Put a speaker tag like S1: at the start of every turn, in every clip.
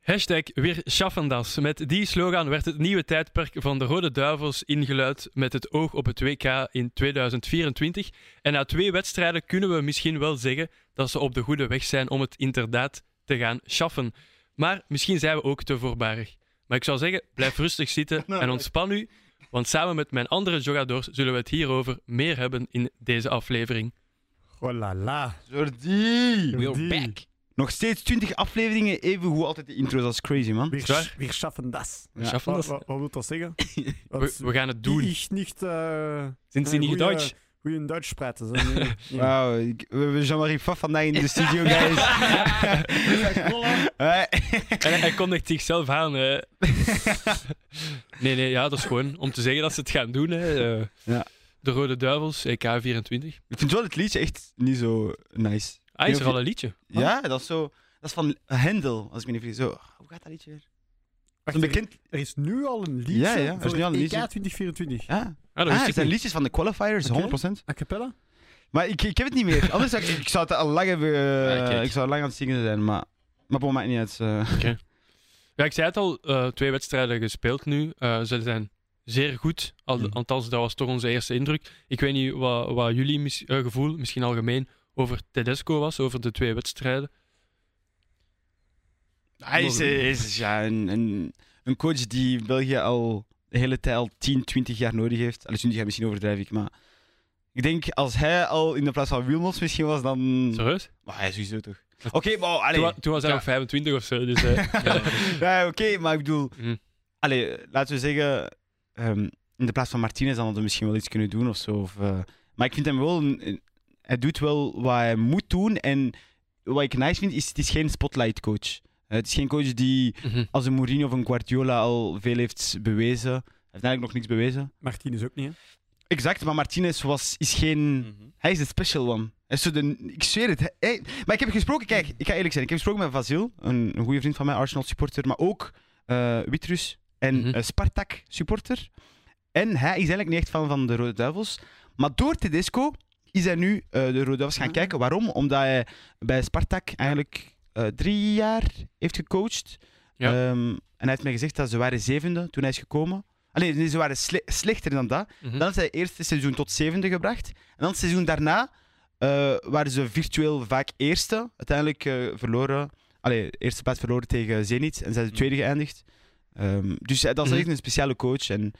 S1: Hashtag weer Schaffendas. Met die slogan werd het nieuwe tijdperk van de Rode Duivels ingeluid met het oog op het WK in 2024. En na twee wedstrijden kunnen we misschien wel zeggen dat ze op de goede weg zijn om het inderdaad te gaan schaffen. Maar misschien zijn we ook te voorbarig. Maar ik zou zeggen, blijf rustig zitten en ontspan u, want samen met mijn andere jogadors zullen we het hierover meer hebben in deze aflevering.
S2: Oh la la.
S3: Jordi!
S2: We're
S3: Jordi.
S2: back.
S3: Nog steeds 20 afleveringen, even goed altijd de intro's als crazy, man.
S2: Wir,
S1: Zwaar?
S2: sch- wir schaffen das.
S3: Ja.
S1: Schaffen
S2: Wat,
S1: das?
S2: wat, wat wil dat zeggen?
S1: We, we gaan het doen.
S2: Ik niet. Uh,
S1: Sind Sie nicht Deutsch?
S2: Goeie Duits praten. Zo. Nee, nee.
S3: Wauw, ik- we hebben Jean-Marie Pfaff vandaag in de studio, guys. Eh, Hey.
S1: En hij- hij kondigt zichzelf aan. hè. nee, nee, ja, dat is gewoon om te zeggen dat ze het gaan doen. Hè. Eh,
S3: Ja.
S1: De Rode Duivels, E EK24.
S3: ik vind wel het liedje echt niet zo nice.
S1: Ah,
S3: Nee,
S1: is
S3: of
S1: er
S3: je-
S1: al een liedje?
S3: Ja, dat is zo... Dat is van Hendel, als ik me niet vergis. Zo, hoe gaat dat liedje weer? Dat is
S2: Wacht,
S3: een
S2: er-
S3: bekend...
S2: Er is nu al een liedje.
S3: Ja, ja, er is
S2: voor E
S3: nu al een
S2: het
S3: liedje.
S2: EK 2024.
S3: Ja.
S1: Ah, dat
S3: Ah,
S1: wist
S3: het
S1: ik
S3: zijn
S1: niet.
S3: liedjes van de qualifiers,
S2: Oké.
S3: 100%.
S2: A cappella?
S3: Maar ik, ik heb het niet meer. Anders zou ik, ik zou het al lang hebben... eh,
S1: Ja, kijk.
S3: ik zou lang aan het zingen zijn, maar... Maar bon, maakt niet uit. eh.
S1: Ja, ik zei het al, eh, twee wedstrijden gespeeld nu. Eh, ze zijn zeer goed. Al,
S3: Mhm.
S1: Althans, dat was toch onze eerste indruk. Ik weet niet wat, wat jullie mis- eh, gevoel, misschien algemeen, over Tedesco was, over de twee wedstrijden.
S3: Hij is,
S1: Mogen-
S3: eh, is ja, een, een, een coach die België al de hele tijd, al 10, 20 jaar nodig heeft. Allee, 20 jaar misschien overdrijf ik, maar... Ik denk, als hij al in de plaats van Wilmots misschien was, dan...
S1: Serieus?
S3: Maar hij is sowieso toch... Oké, maar...
S1: Toen,
S3: Allee,
S1: wa- toen was hij
S3: Mm.
S1: nog
S3: Ja.
S1: 25 of zo. Dus, eh,
S3: ja, oké, maar ik bedoel...
S1: Mhm.
S3: Allee, laten we zeggen... ehm, in de plaats van Martinez hadden we misschien wel iets kunnen doen of zo. Of, eh, maar ik vind hem wel... een- een- hij doet wel wat hij moet doen. En wat ik nice vind, is het is geen spotlight coach. Eh, het is geen coach die...
S1: mhm.
S3: als een Mourinho of een Guardiola al veel heeft bewezen. Hij heeft eigenlijk nog niks bewezen.
S2: Martien is ook niet, hè?
S3: Exact, maar Martinez was, is geen...
S1: Mhm.
S3: Hij is de special one. Hij is zo de, ik zweer het. hij- maar ik heb gesproken, kijk, ik ga eerlijk zijn. Ik heb gesproken met Vasil, een, een goede vriend van mij, Arsenal supporter. Maar ook eh, Witrus en
S1: Mhm.
S3: eh, Spartak supporter. En hij is eigenlijk niet echt fan van de Rode Duivels. Maar door Tedesco is hij nu eh, de Rode Duivels gaan
S2: Ah.
S3: kijken. Waarom? Omdat hij bij Spartak eigenlijk eh, drie jaar heeft gecoacht.
S1: Ja.
S3: Ehm, en hij heeft mij gezegd dat ze waren zevende toen hij is gekomen. Alleen, nee, ze waren sle- slechter dan dat.
S1: Mhm.
S3: Dan is hij het eerste seizoen tot zevende gebracht. En dan het seizoen daarna eh, waren ze virtueel vaak eerste. Uiteindelijk eh, verloren. Allee, eerste plaats verloren tegen Zenit. En zijn ze tweede geëindigd. Ehm, dus hij, dat is
S1: Mhm.
S3: echt een speciale coach. En,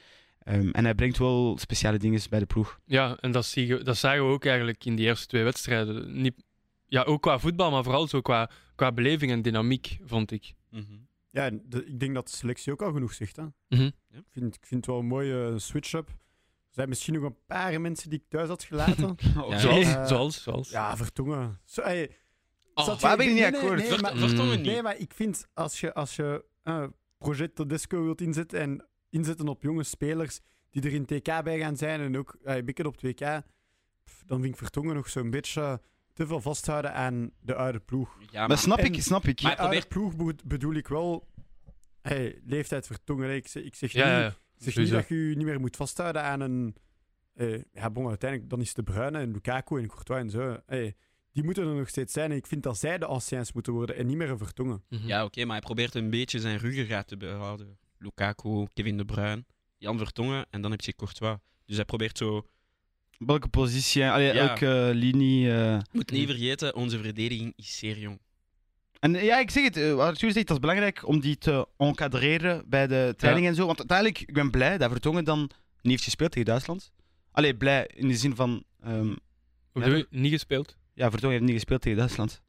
S3: ehm, en hij brengt wel speciale dingen bij de ploeg.
S1: Ja, en dat, zie je, dat zagen we ook eigenlijk in die eerste twee wedstrijden. Niet, ja, ook qua voetbal, maar vooral zo qua, qua beleving en dynamiek, vond ik.
S2: Ja, en de- ik denk dat de selectie ook al genoeg zegt, hè?
S1: Mhm.
S2: Ik vind, ik vind het wel een mooie eh, switch-up. Er zijn misschien nog een paar mensen die ik thuis had gelaten.
S3: Ja.
S1: Oh, Zoals,
S2: Eh,
S1: zoals, zoals.
S2: ja, vertongen. Zo, hey, zat
S3: Oh, waar
S2: je-
S3: ben ik niet
S2: nee, nee,
S3: akkoord?
S2: Nee, maar,
S1: Mm.
S4: Vertongen
S2: nee,
S4: niet.
S2: maar ik vind als je, als je eh Project Tedesco wilt inzetten en inzetten op jonge spelers die er in TK bij gaan zijn en ook eh bikken op 2K, pff, dan vind ik vertongen nog zo'n beetje te veel vasthouden aan de oude ploeg.
S4: Ja,
S3: Maar
S4: maar
S3: snap
S2: En-
S3: ik, snap ik.
S2: Maar
S4: Maar
S2: oude
S4: probeer-
S2: ploeg bedo- bedoel ik wel... Hey, leeftijd vertongen. hè. Ik zeg, ik zeg
S1: ja, ja,
S2: niet,
S1: ja.
S2: ik zeg niet
S1: sowieso.
S2: dat je je niet meer moet vasthouden aan een... eh, ja, bon, uiteindelijk dan is de Bruyne en Lukaku en Courtois en zo. Hey, die moeten er nog steeds zijn. En ik vind dat zij de anciens moeten worden en niet meer een vertongen.
S1: Mhm.
S4: Ja, oké, maar hij probeert een beetje zijn ruggengraat te behouden. Lukaku, Kevin De Bruyne, Jan Vertongen en dan heb je Courtois. Dus hij probeert zo...
S3: Welke positie, allee,
S4: Ja.
S3: elke linie. eh.
S4: Moet
S1: Hm.
S4: niet vergeten, onze verdediging is zeer jong.
S3: En eh, ja, ik zeg het, eh, wat Arthur zegt, dat is belangrijk om die te encadreren bij de training en zo. Want uiteindelijk, ik ben blij dat Vertongen dan niet heeft gespeeld tegen Duitsland. Allee, blij in de zin van, ehm,
S1: Hoe bedoel je? Niet gespeeld?
S3: ja, Vertongen heeft niet gespeeld tegen Duitsland.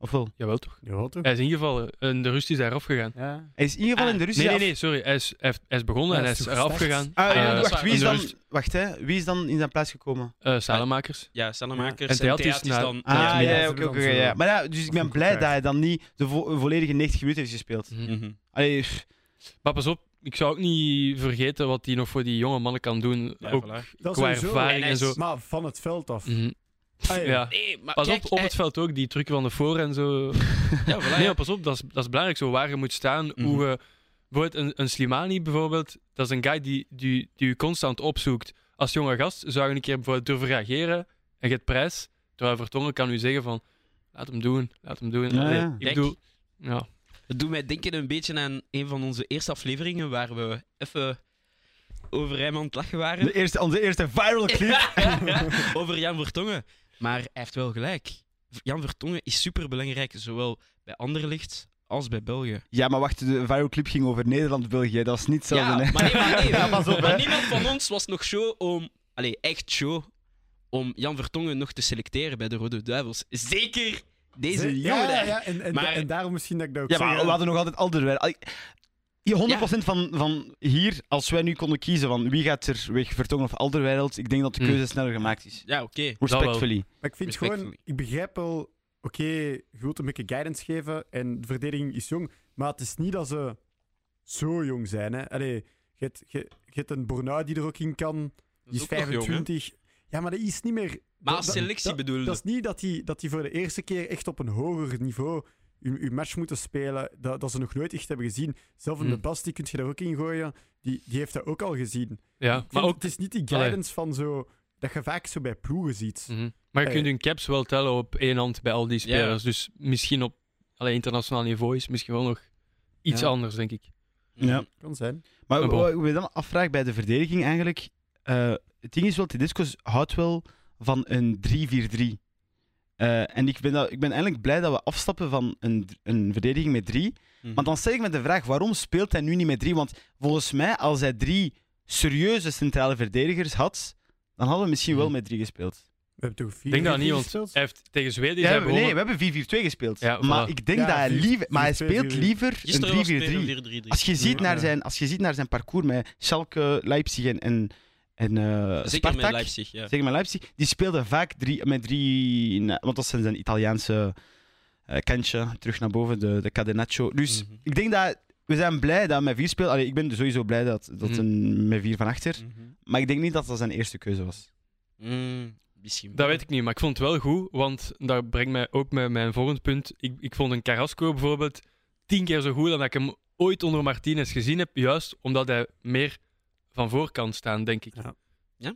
S3: Ofwel?
S1: Jawel toch?
S2: Ja, toch?
S1: Hij is ingevallen en de rust is eraf gegaan.
S2: Ja.
S3: Hij is in ieder geval
S4: Ah,
S3: in de Russische
S1: Nee, nee, nee, sorry. Hij is, hij heeft- hij is begonnen
S2: Ja,
S1: en hij
S2: is
S1: is
S2: toch
S1: eraf
S2: gestart?
S1: gegaan.
S3: af- Ah,
S1: Eh,
S3: ja,
S4: dat is
S3: wacht,
S4: waar.
S3: wie is,
S1: in de
S3: dan,
S1: rust.
S3: wacht hè, wie is dan in zijn plaats gekomen?
S1: Eh, Salamakers.
S4: Ja, Sellemakers
S1: En
S4: en
S1: Theat is
S4: Theat is
S1: naar-
S4: dan...
S3: Ah,
S1: Ja,
S3: ja,
S2: ja,
S3: ja,
S2: ze
S3: oké,
S2: hebben
S3: oké,
S2: dan
S3: oké,
S2: zo-
S3: ja. Maar ja, dus ik
S2: dat
S3: ben
S2: goed
S3: blij dat
S2: gevraagd.
S3: hij dan niet de vo- volledige 90 minuten heeft gespeeld.
S1: Mhm.
S4: Mhm.
S3: Allee, pff,
S1: Maar pas op, ik zou ook niet vergeten wat hij nog voor die jonge mannen kan doen.
S4: Ja,
S1: Hm. ook
S4: voilà.
S2: Dat
S1: qua
S2: sowieso.
S1: ervaring
S4: En
S1: en zo.
S2: Maar van het veld af.
S1: Mhm.
S2: Ah,
S1: Ja.
S4: Nee, maar
S1: Pas
S4: kijk,
S1: op, op
S4: hij-
S1: het veld ook, die truc van de voor en zo.
S4: Ja, voilà,
S1: nee,
S4: ja.
S1: maar pas op, dat is, dat is belangrijk. Zo waar je moet staan,
S4: Mhm.
S1: hoe je... Bijvoorbeeld een, een Slimani, bijvoorbeeld, dat is een guy die, die, die je constant opzoekt. Als jonge gast zou je een keer bijvoorbeeld durven reageren en je hebt prijs. Terwijl Vertongen kan u zeggen van, laat hem doen, laat hem doen.
S3: Ja,
S1: Allee,
S3: ja.
S1: Ik bedoel, ja.
S4: Het doet mij denken een beetje aan een van onze eerste afleveringen waar we even over hem aan het lachen waren.
S3: De eerste, onze eerste viral clip.
S4: over Jan Vertongen. Maar hij heeft wel gelijk. Jan Vertongen is superbelangrijk, zowel bij Anderlicht als bij België.
S3: Ja, maar wacht, de viral clip ging over Nederland-België. Dat is niet hetzelfde,
S4: ja,
S3: hè?
S4: maar, nee, maar, nee.
S3: Ja, pas op,
S4: maar
S3: hè.
S4: niemand van ons was nog show om... Allee, echt show om Jan Vertongen nog te selecteren bij de Rode Duivels. Zeker deze
S2: Hè?
S4: jongen
S2: ja, ja,
S4: daar.
S2: ja. En, en,
S4: Maar-
S2: en daarom misschien dat ik dat ook
S3: Ja,
S2: zeg,
S3: maar
S1: eh.
S3: we hadden nog altijd Alderweireld. Al- je 100% van, van hier, als wij nu konden kiezen van wie gaat er weg, Vertongen of Alderweireld, ik denk dat de
S1: Hmm.
S3: keuze sneller gemaakt is.
S4: Ja, oké.
S1: wel.
S3: Respectfully.
S2: Maar ik vind gewoon,
S4: Respectfully.
S2: ik begrijp wel, oké, je wilt een beetje guidance geven en de verdediging is jong, maar het is niet dat ze zo jong zijn. Hè. Allee, je hebt- je je hebt een Bornau die er ook in kan,
S4: Dat
S2: die
S4: is
S2: is
S4: ook nog jong, hè?
S2: 25. ja, maar dat is niet meer...
S4: Maar
S2: dat-
S4: als selectie bedoelde.
S2: Dat is niet dat die, dat die voor de eerste keer echt op een hoger niveau hun, hun match moeten spelen, dat, dat ze nog nooit echt hebben gezien. Zelf in de
S1: Mm.
S2: Bas, die kun je daar ook in gooien, die, die heeft dat ook al gezien.
S1: Ja,
S2: Ik
S1: maar
S2: vind-
S1: ook...
S2: Het is niet die guidance van zo... Dat je vaak zo bij ploegen ziet.
S1: Mhm. Maar je
S2: Eh.
S1: kunt hun caps wel tellen op één hand bij al die spelers. Dus misschien op allee, internationaal niveau is misschien wel nog iets
S3: Ja.
S1: anders, denk ik.
S4: Mm-hmm.
S3: Ja.
S2: Kan zijn.
S3: Maar
S1: Maar bon.
S3: wat ik me dan afvraag bij de verdediging eigenlijk, eh, het ding is wel, Tedesco's houdt wel van een 3-4-3. Eh, en ik ben, dat, ik ben eigenlijk blij dat we afstappen van een, een verdediging met 3.
S4: Mhm.
S3: Maar dan stel ik me de vraag, waarom speelt hij nu niet met 3? Want volgens mij, als hij drie serieuze centrale verdedigers had, dan hadden we misschien wel
S1: Mhm.
S3: met 3 gespeeld.
S2: We hebben toch vier
S1: Ik denk dat
S2: vier
S1: niet, want
S2: gespeeld?
S1: hij heeft tegen Zweden is
S3: Ja,
S1: hij
S3: we-
S1: begonnen.
S3: nee, we hebben 4-4-2 gespeeld.
S1: Ja,
S3: maar
S1: voilà.
S3: ik denk
S2: Ja,
S3: dat hij
S2: vier-
S3: liever... Maar hij
S2: 4-2-4-3.
S3: speelt liever
S4: Gisteren was het
S3: een 3-4-3.
S4: 4-4-3.
S3: Als je, ziet naar
S2: Ja.
S3: zijn, als je ziet naar zijn parcours met Schalke, Leipzig en, en, en eh,
S4: Zeker
S3: Spartak...
S4: met Leipzig, ja.
S3: Zeker met Leipzig. Die speelde vaak drie, met drie... nee, Want dat zijn zijn Italiaanse eh kantje. Terug naar boven, de, de Cadenaccio. Dus
S4: Mhm.
S3: ik denk dat... We zijn blij dat hij met vier speelt. Allee, ik ben sowieso blij dat, dat
S1: Mhm.
S3: een, met vier van achter.
S4: Mhm.
S3: Maar ik denk niet dat dat zijn eerste keuze was.
S4: Mm, misschien.
S1: Dat weet ik niet, maar ik vond het wel goed, want dat brengt mij ook met mijn volgend punt. Ik, ik vond een Carrasco bijvoorbeeld tien keer zo goed dan dat ik hem ooit onder Martinez gezien heb, juist omdat hij meer van voor kan staan, denk ik.
S2: Ja.
S4: Ja.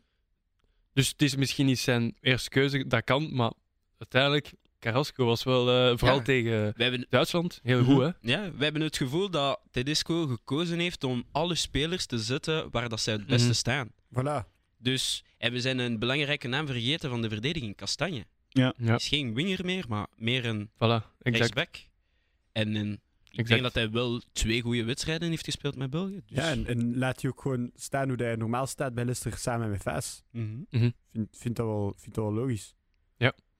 S1: Dus het is misschien niet zijn eerste keuze, dat kan, maar uiteindelijk, Carrasco was wel, eh, vooral
S4: Ja.
S1: tegen
S4: We hebben,
S1: Duitsland, heel goed, hè?
S4: ja, we hebben het gevoel dat Tedesco gekozen heeft om alle spelers te zetten waar dat zij het beste
S3: Mm-hmm.
S1: Mhm.
S4: staan.
S2: Voilà.
S4: Dus, en we zijn een belangrijke naam vergeten van de verdediging, Kastanje.
S1: Ja,
S4: Is geen winger meer, maar meer een
S1: voilà, exact.
S4: rechtsback. En een, ik
S1: Exact.
S4: denk dat hij wel twee goede wedstrijden heeft gespeeld met België. Dus,
S2: Ja, en, en laat je ook gewoon staan hoe hij normaal staat bij Leicester samen met Vaas.
S4: Mhm.
S2: Vind, vind, dat wel, vind dat wel logisch.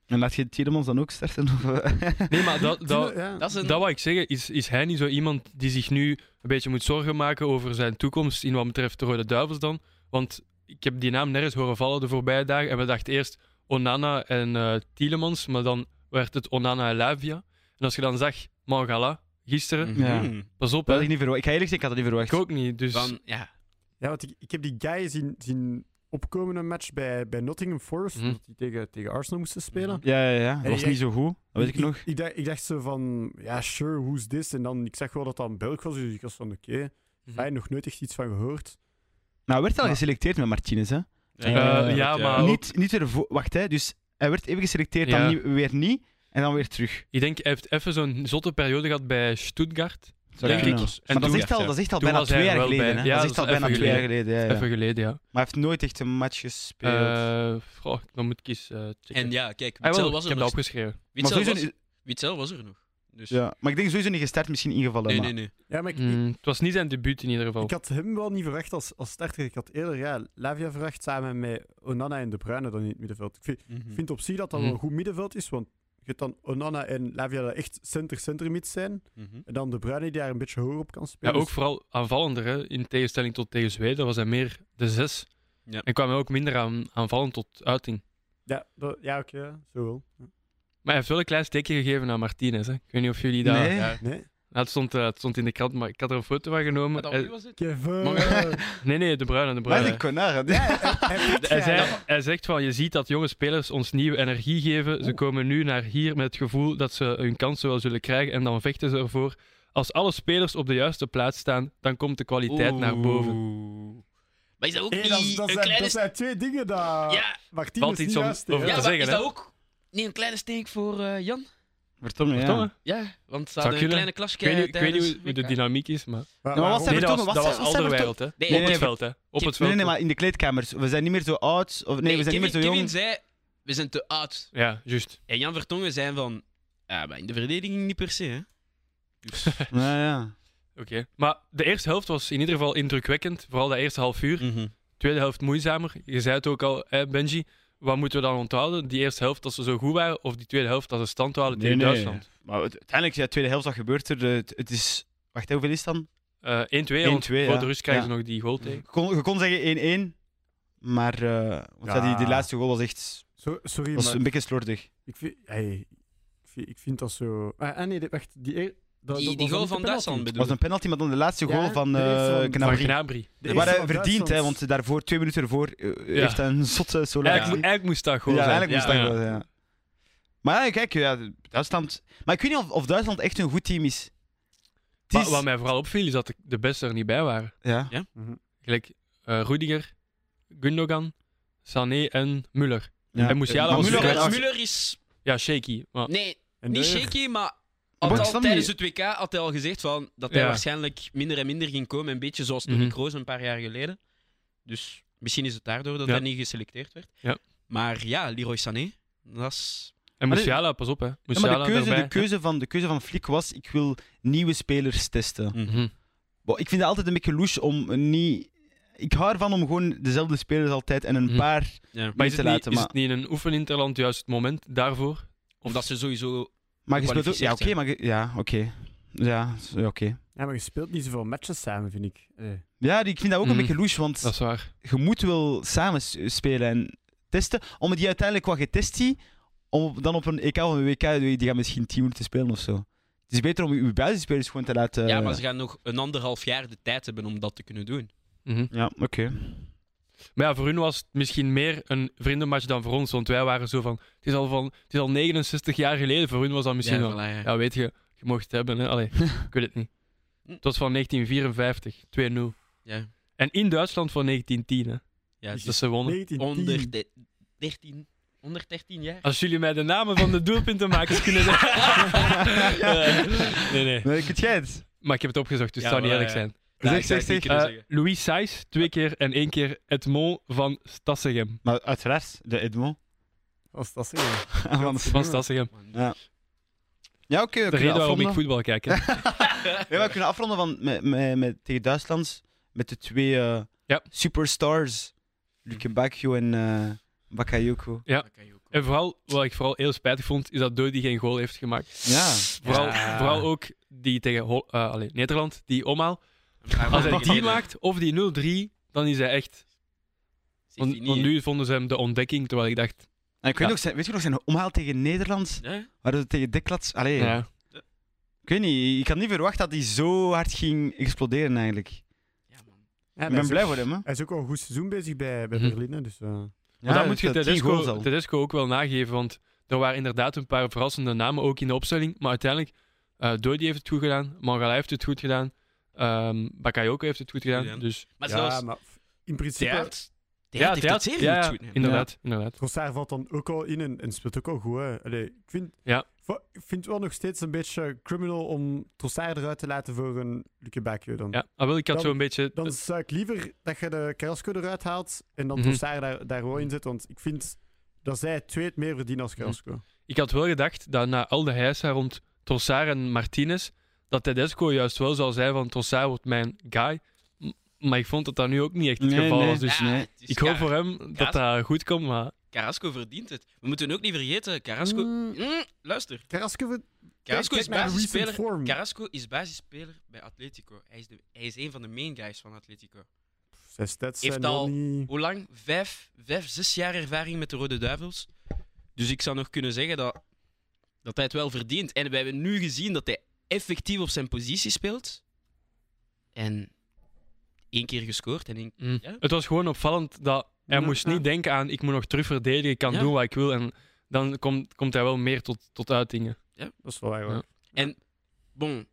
S3: En laat je Tiedemans dan ook starten? Of, eh?
S1: Nee, maar dat, dat,
S2: ja.
S4: Dat is een...
S1: Dat wat ik zeggen, is, is hij niet zo iemand die zich nu een beetje moet zorgen maken over zijn toekomst in wat betreft de Rode Duivels dan? Want ik heb die naam nergens horen vallen de voorbije dagen. En we dachten eerst Onana en eh Tielemans, maar dan werd het Onana en Lavia. En als je dan zag Mangala gisteren,
S3: Mm.
S4: Mhm.
S3: Ja.
S1: pas op,
S3: dat
S1: hè.
S3: had ik niet verwacht. Ik ga eerlijk zeggen, ik had dat niet verwacht.
S1: ik ook niet. Dus
S4: Van, ja.
S2: ja, want ik, ik heb die guy zien, zien opkomen een match bij, bij Nottingham Forest.
S1: Mhm.
S2: Omdat die tegen, tegen Arsenal moesten spelen.
S4: Mhm.
S3: Ja, ja, ja. Dat
S2: Hey,
S3: was
S2: jij-
S3: niet zo goed. Dat weet ik nog.
S2: Ik, dacht, ik dacht zo van, ja, sure, who's this? En dan, ik zag wel dat dat een Belg was, dus ik was van, oké, fijn, nog nooit echt iets van gehoord.
S3: Nou, hij werd al
S2: Maar-
S3: geselecteerd met Martinez, hè?
S1: ja,
S3: Eh,
S1: ja, maar- Ah. ook-
S3: Niet, niet ervoor. Wacht, hè. Dus hij werd even geselecteerd,
S1: Ja.
S3: dan niet- weer niet. En dan weer terug.
S1: ik denk, hij heeft even zo'n zotte periode gehad bij Stuttgart.
S3: Zou
S4: Denk
S3: kunnen.
S4: ik.
S1: En
S3: Maar dat
S1: toen-
S3: is echt al, dat is echt al
S1: toen
S3: bijna
S1: was hij
S3: twee
S1: er
S3: jaar
S1: wel
S3: geleden.
S1: bij.
S3: Hè?
S1: Ja,
S3: dat is
S1: dat
S3: echt al
S1: is
S3: bijna
S1: even
S3: twee jaar geleden. Ja, ja.
S1: Even geleden, ja.
S3: Maar hij heeft nooit echt een match gespeeld.
S1: Eh goh, dan moet ik eens eh, checken.
S4: En ja, kijk,
S1: Ah,
S4: Witzel
S1: wel,
S4: was
S1: ik
S4: er
S1: heb
S4: nog.
S1: dat opgeschreven.
S3: maar,
S4: Witzel
S3: sowieso,
S4: was,
S3: niet-
S4: Witzel was er nog. Dus...
S3: ja. maar ik denk sowieso niet gestart, misschien ingevallen.
S4: Nee,
S3: maar-
S4: nee, nee.
S2: Ja, maar ik, ik-
S1: Mm, het was niet zijn debuut in ieder geval.
S2: Ik had hem wel niet verwacht als, als starter. Ik had eerder ja, Lavia verwacht samen met Onana en De Bruyne dan in het middenveld. Ik vind, ik vind op zich dat dat wel een
S1: Mhm.
S2: goed middenveld is, want je hebt dan Onana en Lavia dat echt center-center-mid zijn.
S1: Eh,
S4: Mhm.
S2: En dan De Bruyne die daar een beetje hoger op kan
S1: Ja,
S2: spelen.
S1: ook vooral aanvallender. Hè? In tegenstelling tot tegen Zweden was hij meer de zes.
S4: Ja.
S1: En kwam hij ook minder aan, aanvallend tot uiting.
S2: Ja, dat- ja oké, ja, zo wel.
S1: Maar hij heeft wel een klein steekje gegeven aan Martinez. Hè? Ik weet niet of jullie dat...
S3: Nee.
S4: Ja.
S2: Nee?
S1: Nou, het, stond, eh, het stond in de krant, maar ik had er een foto van genomen. Hij-
S2: Kevin! Eh,
S4: Maar-
S1: Nee, nee, de Bruyne, de
S3: Wat
S1: Bruyne.
S3: een connard, hè.
S1: eh, Hij, zei, hij zegt van, je ziet dat jonge spelers ons nieuwe energie geven. Ze komen nu naar hier met het gevoel dat ze hun kansen wel zullen krijgen en dan vechten ze ervoor. Als alle spelers op de juiste plaats staan, dan komt de kwaliteit naar boven.
S4: Oeh. Maar is dat ook
S2: Hey,
S4: niet
S2: dat, is- dat
S4: een
S2: zijn,
S4: kleine...
S2: dat
S4: st-
S2: zijn twee dingen daar.
S4: Ja,
S2: Martinez
S1: Valt
S2: niet
S1: iets om-
S2: juist, hè.
S1: over
S4: ja
S1: te
S4: maar
S1: zeggen,
S4: is
S1: hè?
S4: dat ook niet een kleine steek voor eh, Jan?
S3: Vertongen, ja.
S1: Vertongen?
S4: Ja, want ze
S1: Zou
S4: hadden
S1: kunnen.
S4: een kleine
S1: Ik weet
S4: klasje eh,
S1: niet, ik weet niet hoe- hoe de dynamiek is, maar...
S2: Wa-
S3: Nou, wat
S2: waarom-
S3: was
S1: Nee,
S3: Vertongen,
S1: dat was,
S3: was
S1: dat
S3: zij-
S1: was
S3: was zij
S1: Alderwereld, hè.
S4: Nee,
S1: op
S4: nee,
S1: het
S3: nee.
S1: veld, hè. Op het
S4: Kip-
S1: veld.
S3: Nee, nee, maar in de kleedkamers. We zijn niet meer zo oud. Of, nee, we zijn
S4: Kevin,
S3: niet meer zo jong.
S4: Kevin zei, we zijn te oud.
S1: Ja, juist.
S4: En Jan Vertongen zei van, ja, maar in de verdediging niet per se, hè. Dus,
S3: Ja, ja.
S1: Oké. Maar de eerste helft was in ieder geval indrukwekkend. Vooral dat eerste half uur.
S4: mhm.
S1: Tweede helft moeizamer. Je zei het ook al, hè, Benji. Wat moeten we dan onthouden? Die eerste helft dat ze zo goed waren, of die tweede helft dat ze stand houden
S3: Nee,
S1: tegen
S3: nee.
S1: Duitsland?
S3: Maar het- uiteindelijk, ja, tweede helft, wat gebeurt er? Het, het is... Wacht, hè, hoeveel is het dan?
S1: Eh 1-2, want
S3: 1-2,
S1: voor
S3: ja.
S1: de rust krijgen
S3: Ja.
S1: ze nog die goal tegen.
S3: Je kon, je kon zeggen 1-1. Maar eh, want ja, die, die
S2: Ja.
S3: laatste goal was echt
S2: Zo- sorry,
S3: was
S2: maar
S3: een beetje slordig.
S2: ik, vind, hey, ik, vind, ik vind dat zo... Ah, ah, nee, dit- wacht. Die, eer- dat-
S4: Die,
S2: dat
S4: die
S2: was
S4: goal
S2: niet
S4: van
S2: de penalty.
S4: Duitsland bedoel
S3: was een penalty, maar dan de laatste
S2: Ja,
S3: goal van
S2: de eerste
S3: eh
S2: van-
S1: Van
S3: Knabry.
S1: Gnabry.
S2: De
S3: Maar
S2: eerste
S3: eh,
S2: van
S3: verdiend, hè,
S2: Duitsland.
S3: want daarvoor, twee minuten ervoor, eh,
S1: Ja.
S3: heeft hij een zotte solo.
S1: Eigenlijk,
S3: actie.
S1: mo- eigenlijk moest dat
S3: Ja,
S1: gewoon zijn.
S3: eigenlijk moest dat
S1: Ja.
S3: wel, ja. Maar ja, kijk, ja, Duitsland... Maar ik weet niet of, of Duitsland echt een goed team is. Het
S1: Maar
S3: is-
S1: wat mij vooral opviel, is dat de- de beste er niet bij waren.
S3: Ja.
S2: Mhm.
S1: Gelijk eh, Rudiger, Gundogan, Sané en Müller.
S3: Ja.
S1: En Musiala
S3: Maar
S1: was
S3: Müller-
S1: eruit.
S4: Müller,
S3: was-
S4: Müller is...
S1: Ja, shaky. Maar
S4: Nee,
S2: En
S4: niet
S2: Neuer.
S4: shaky, maar...
S3: Maar
S4: Had
S3: ik
S4: al,
S3: snap
S4: tijdens
S3: niet-
S4: het WK had hij al gezegd van, dat hij
S1: Ja.
S4: waarschijnlijk minder en minder ging komen. Een beetje zoals Toni
S1: Mhm.
S4: Kroos een paar jaar geleden. Dus misschien is het daardoor dat
S1: Ja.
S4: hij niet geselecteerd werd.
S1: Ja.
S4: Maar ja, Leroy Sané, dat is...
S1: En
S3: Maar
S1: Musiala, pas op hè.
S3: Ja, maar
S1: Musiala
S3: de keuze,
S1: daarbij.
S3: de, keuze van, de keuze van Flick was, ik wil nieuwe spelers testen.
S1: Mhm.
S3: Wow, ik vind het altijd een beetje louche om niet... Ik hou ervan om gewoon dezelfde spelers altijd en een
S1: Mhm.
S3: paar...
S4: Ja.
S1: Maar is
S3: te
S1: het, niet,
S3: laten,
S1: is
S3: maar-
S1: het niet in een oefeninterland juist het moment daarvoor?
S4: Omdat ze sowieso
S3: Maar je speelt ook... Ja,
S4: Gekwalificeerd
S3: oké, maar... je- Ja, oké. Ja, s- ja, oké.
S2: Ja, maar je speelt niet zoveel matches samen, vind ik. Eh,
S3: Ja, die- ik vind dat ook
S1: Mhm.
S3: een beetje louche, want...
S1: Dat is waar.
S3: je moet wel samen s- spelen en testen. Omdat die uiteindelijk wat getest die, om op- dan op een EK of een WK, die die gaan misschien 10 minuten spelen of zo. Het is beter om je basisspelers gewoon te laten.
S4: Ja, maar ze gaan nog een anderhalf jaar de tijd hebben om dat te kunnen doen.
S1: Mhm.
S3: Ja, oké.
S1: Maar ja, voor hun was het misschien meer een vriendenmatch dan voor ons. Want wij waren zo van... Het is al, van, het is al 69 jaar geleden. Voor hun was dat misschien
S4: ja,
S1: wel...
S4: voilà, ja.
S1: Ja, weet je, je mocht het hebben. Hè? Allee, ik weet het niet. Het was van 1954, 2-0.
S4: Ja,
S1: En in Duitsland van 1910, hè. Dus
S4: ja, dus
S1: dat ze wonnen.
S2: 19
S4: onder de, 13, onder 13 jaar.
S1: Als jullie mij de namen van de doelpuntenmakers kunnen zeggen... Eh, nee, nee.
S3: Nee, kunt jij het?
S1: Maar ik heb het opgezocht, dus
S4: Ja,
S1: het zou niet
S4: voilà,
S1: eerlijk
S3: eh,
S4: ja.
S1: zijn.
S4: Ja,
S3: zeg,
S4: ik zou
S3: zeg,
S4: het niet
S3: zeg.
S4: kunnen
S1: Eh,
S4: zeggen.
S1: Louis Saiz, twee keer en één keer Edmond van Stassegem.
S3: Maar uiteraard, de Edmond.
S2: Als dat zeggen.
S3: Van de-
S1: Van Stassegem.
S3: ja, oké. we
S1: De
S3: kunnen
S1: reden waarom ik
S3: afronden.
S1: voetbal kijk. hè.
S3: Ja, we kunnen afronden van, met, met, met, tegen Duitsland met de twee eh,
S1: Ja.
S3: superstars, Luke Bakio en eh Bakayoko.
S1: Ja. En vooral, wat ik vooral heel spijtig vond, is dat Dodi geen goal heeft gemaakt.
S3: Ja.
S1: Vooral,
S4: Ja.
S1: vooral ook die tegen Hol- eh, allee, Nederland, die omhaal. Als hij die
S4: team
S1: maakt, of die 0-3, dan is hij echt... Want, want nu vonden ze hem de ontdekking, terwijl ik dacht...
S3: En ik weet,
S1: Ja.
S3: nog zijn, weet je nog zijn omhaal tegen Nederland?
S4: Ja?
S3: Waar we tegen Deklats. Allee.
S1: Ja.
S3: Ik weet niet, ik had niet verwacht dat hij zo hard ging exploderen eigenlijk.
S4: Ja, man.
S2: Ja,
S3: ik ben blij voor hem, hè.
S2: Hij is ook al een goed seizoen bezig bij, bij
S1: Mhm.
S2: Berlijn, hè, dus... eh.
S1: Maar dan moet je
S3: dat- die goals
S1: Tedesco,
S3: al.
S1: Tedesco ook wel nageven, want er waren inderdaad een paar verrassende namen ook in de opstelling. Maar uiteindelijk, eh Dodi heeft het goed gedaan, Mangala heeft het goed gedaan, ehm Bakayoko heeft het goed gedaan.
S4: Ja.
S1: Dus
S4: Maar
S2: ja,
S4: zelfs
S2: maar f- in principe...
S4: Theaert, Theaert heeft het
S1: Theaert,
S4: zeer
S1: ja,
S4: goed
S1: ja,
S4: goed. gedaan.
S1: Inderdaad, inderdaad.
S2: Trossard valt dan ook al in en, en speelt ook al goed. Hè. Allee, ik vind
S1: Ja.
S2: va- ik vind het wel nog steeds een beetje criminal om Trossard eruit te laten voor een Luke Bakio dan.
S1: Ja, ah, wel, ik had
S2: Dan-
S1: zo'n beetje...
S2: Dan zou ik liever dat je de Carrasco eruit haalt en dan
S1: Mhm.
S2: Trossard daar, daar wel in zet, want ik vind dat zij het twee het meer verdienen
S1: Mhm.
S2: als Carrasco.
S1: Ik had wel gedacht dat na al de heisa rond Trossard en Martinez, dat Tedesco juist wel zou zijn van Trossard wordt mijn guy. M- Maar ik vond dat dat nu ook niet echt het
S3: Nee,
S1: geval
S3: nee.
S1: was. Dus
S4: Ja,
S3: nee.
S4: het is
S1: ik hoop
S4: Car-
S1: voor hem dat dat goed komt, maar...
S4: Carrasco verdient het. We moeten ook niet vergeten, Carrasco... Mm, luister,
S2: Carrasco, we-
S4: Carrasco
S2: kijk
S4: is
S2: naar recent
S4: basisspeler
S2: form.
S4: Carrasco is basisspeler bij Atletico. Hij is, de, hij is een van de main guys van Atletico.
S2: Zijn stats
S4: Heeft
S2: zijn wel
S4: al-
S2: niet...
S4: Hoe lang? Vijf, vijf, zes jaar ervaring met de Rode Duivels. Dus ik zou nog kunnen zeggen dat, dat hij het wel verdient. En we hebben nu gezien dat hij effectief op zijn positie speelt. En één keer gescoord. En één...
S1: Mm.
S4: Ja?
S1: Het was gewoon opvallend dat hij
S2: Ja,
S1: moest
S2: ja.
S1: niet denken aan ik moet nog terug verdedigen, ik kan
S4: Ja.
S1: doen wat ik wil. En dan komt, komt hij wel meer tot, tot uitingen.
S2: Dat is wel waar, hoor.
S1: Ja.
S4: Bon,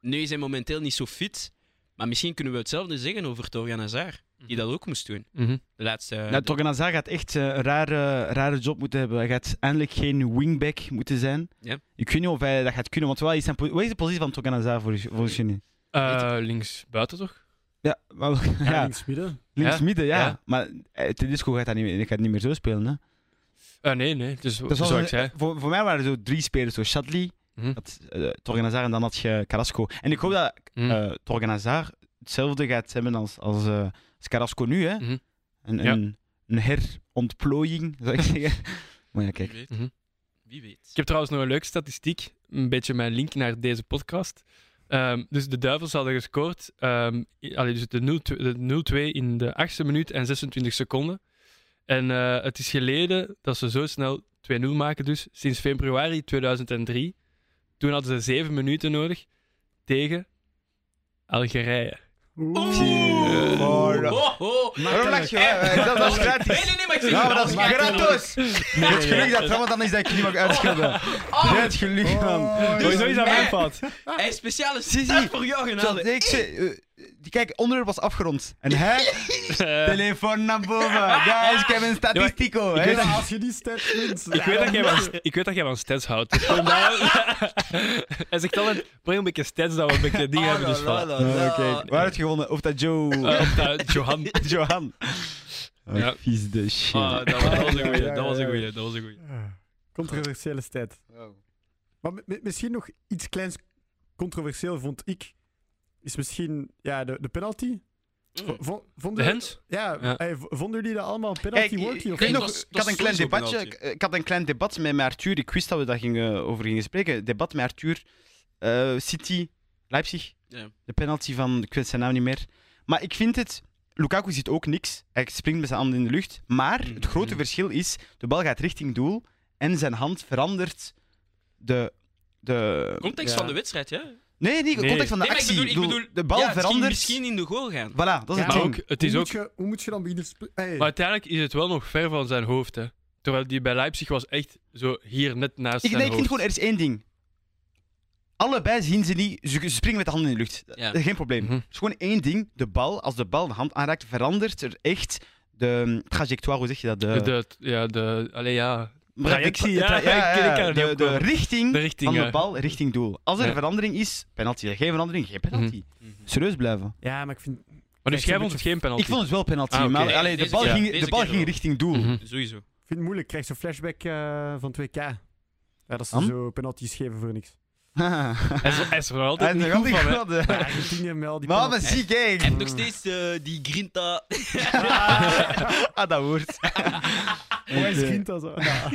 S4: nu is hij momenteel niet zo fit. Maar misschien kunnen we hetzelfde zeggen over Torjan Hazard. die dat ook moest doen.
S1: Mhm.
S4: De laatste...
S3: Nou, Torganazar gaat echt eh, een rare, rare job moeten hebben. Hij gaat eindelijk geen wingback moeten zijn.
S4: Ja.
S3: Ik weet niet of hij dat gaat kunnen, want wat is, zijn po- wat is de positie van Torganazar voor, volgens jullie?
S1: Eh, links buiten toch?
S3: Ja, wel,
S2: Ja,
S3: ja,
S2: links midden.
S3: links
S1: Ja.
S3: midden, ja.
S1: Ja.
S3: Maar eh, Tedesco gaat, dat niet, meer- gaat niet meer zo spelen. Hè?
S1: Eh, nee, nee. Dus,
S3: Dat was
S1: zoals
S3: een-
S1: ik zei.
S3: Voor, voor mij waren er zo drie spelers. Zo Shadley,
S1: Mhm.
S3: had, eh, Torganazar en dan had je Carrasco. En ik hoop dat
S1: Mhm.
S3: eh Torganazar hetzelfde gaat hebben als, als, eh, als Carrasco nu. Hè?
S1: Mhm.
S3: Een,
S1: Ja.
S3: een, een herontplooiing, zou ik zeggen. maar ja,
S4: Wie
S3: kijk.
S4: weet.
S1: Mhm.
S4: Wie weet.
S1: Ik heb trouwens nog een leuke statistiek. Een beetje mijn link naar deze podcast. Ehm, dus de Duivels hadden gescoord. ehm, i- allee, dus de 0-2 de 0-2 in de 8e minuut en 26 seconden. En eh, het is geleden dat ze zo snel 2-0 maken, dus sinds februari 2003. Toen hadden ze 7 minuten nodig tegen Algerije.
S4: Oeh.
S3: Voor-
S4: Ho, ho.
S3: Waarom lach je? Eh, dat- dat is gratis.
S4: Nee, nee, nee, maar ik zeg
S3: Ja,
S4: het
S3: maar dat is
S4: wel.
S3: gratis! Het geluk dat Ramadan is dat ik je niet mag uitschelden.
S4: Oh,
S3: Ja, het geluk, man.
S4: Dus-
S1: Sowieso is dat
S4: Nee.
S1: mijn fout.
S4: Hij is speciale
S3: Zie,
S4: set
S3: zie.
S4: voor jou
S3: Zoals
S4: genomen.
S3: ik zei, eh, die kijk, onderwerp was afgerond. En hij, telefoon naar boven. Guys, ik heb een statistico.
S1: Ik
S3: hè.
S1: weet dat-
S2: als je die stats wint...
S1: Ik weet, dat jij van, ik weet dat jij van stats houdt. Dus kom daar. Hij zegt altijd, breng een beetje stats dat we een beetje die hebben. Dus voilà.
S3: Oh, kijk. Waar had je gewonnen? Of dat Joe...
S1: Eh, op dat- Johan.
S3: Johan. Oh,
S1: Ja.
S3: Vies de shit.
S4: Ah, dat was dat was een goeie,
S2: Ja,
S4: dat was
S2: ja,
S4: een
S2: ja.
S4: goeie, dat was een goeie.
S2: Controversiële stat. Maar mi- mi- misschien nog iets kleins controversieel vond ik. Is misschien ja, de, de penalty. V-
S4: Mm.
S2: vo-
S1: De
S2: vonden,
S1: Hens?
S2: ja,
S1: Ja.
S2: eh, v- vonden jullie dat allemaal
S3: Kijk,
S2: penalty
S3: ik,
S2: worthy?
S3: ik
S2: Of
S3: weet
S4: niet?
S3: nog,
S4: Dat is-
S3: ik, had een
S4: dat
S3: klein
S4: is sowieso
S3: debatje, ik,
S4: penalty.
S3: ik had een klein debat met, met Arthur. Ik wist dat we daar gingen, over gingen spreken. Debat met Arthur. Eh, City, Leipzig.
S4: Ja.
S3: De penalty van, ik weet zijn naam niet meer. Maar ik vind het, Lukaku ziet ook niks. Hij springt met zijn handen in de lucht. Maar het grote
S4: Mhm.
S3: verschil is, de bal gaat richting doel. En zijn hand verandert de... de
S4: Context
S2: Ja.
S4: van de wedstrijd, ja. Nee,
S3: nee, niet de
S1: Nee.
S3: context van de
S4: maar ik
S3: actie.
S4: bedoel, ik
S3: Ik bedoel,
S4: bedoel,
S3: de bal
S4: ja, het ging
S3: verandert.
S4: misschien in de goal gaan.
S3: Voilà, dat is
S2: Ja.
S3: het
S1: Maar
S3: ding.
S1: ook, het is
S2: hoe,
S1: ook,
S2: moet je, hoe moet je dan beginnen... sp- Hey,
S1: maar uiteindelijk is het wel nog ver van zijn hoofd. Hè. Terwijl die bij Leipzig was echt zo hier net naast
S3: Ik,
S1: zijn
S3: nee, ik
S1: hoofd.
S3: vind gewoon, er is één ding. Allebei zien ze niet, ze ze springen met de handen in de lucht.
S4: Ja.
S3: Dat is Geen probleem.
S1: Mhm.
S3: Het is gewoon één ding. De bal, als de bal de hand aanraakt, verandert er echt de mm, trajectoire, hoe zeg je dat? De,
S1: De, ja, de, allee, ja.
S3: de-
S1: trajectie,
S3: de- de-
S1: ja, ik- ik kan er niet
S3: de,
S1: op
S3: de
S1: komen.
S3: richting
S1: De richting. eh.
S3: van de
S1: ja.
S3: bal richting doel. Als er
S1: Ja.
S3: verandering is, penalty. Geen verandering, geen penalty.
S4: Mhm.
S3: Serieus blijven.
S2: Ja, maar ik vind...
S1: Maar dus
S2: Kijk,
S1: jij
S2: een
S1: vond het geen penalty?
S3: Ik vond het wel penalty,
S1: Ah, oké.
S3: maar allee, de
S4: Deze
S3: bal,
S4: keer-
S3: ging,
S4: deze
S3: de bal
S4: keer
S3: ging
S4: wel.
S3: vind richting doel.
S1: Mhm.
S4: Sowieso.
S2: Ik vind het moeilijk. Ik krijg zo'n flashback eh, van 2K. Ja, dat ze
S3: Am?
S2: zo penalties geven voor niks.
S1: Hij is- Hij is er nog altijd
S3: En
S1: niet
S3: de
S1: goed van, hè.
S3: rand die
S2: Maar Argentinië met al die
S3: Maar, maar
S2: penalties.
S3: zie, kijk.
S4: Hij heeft nog steeds eh, die grinta.
S3: ah, dat woord.
S2: Hoe is
S3: Oké.
S2: Ginta zo? Ja.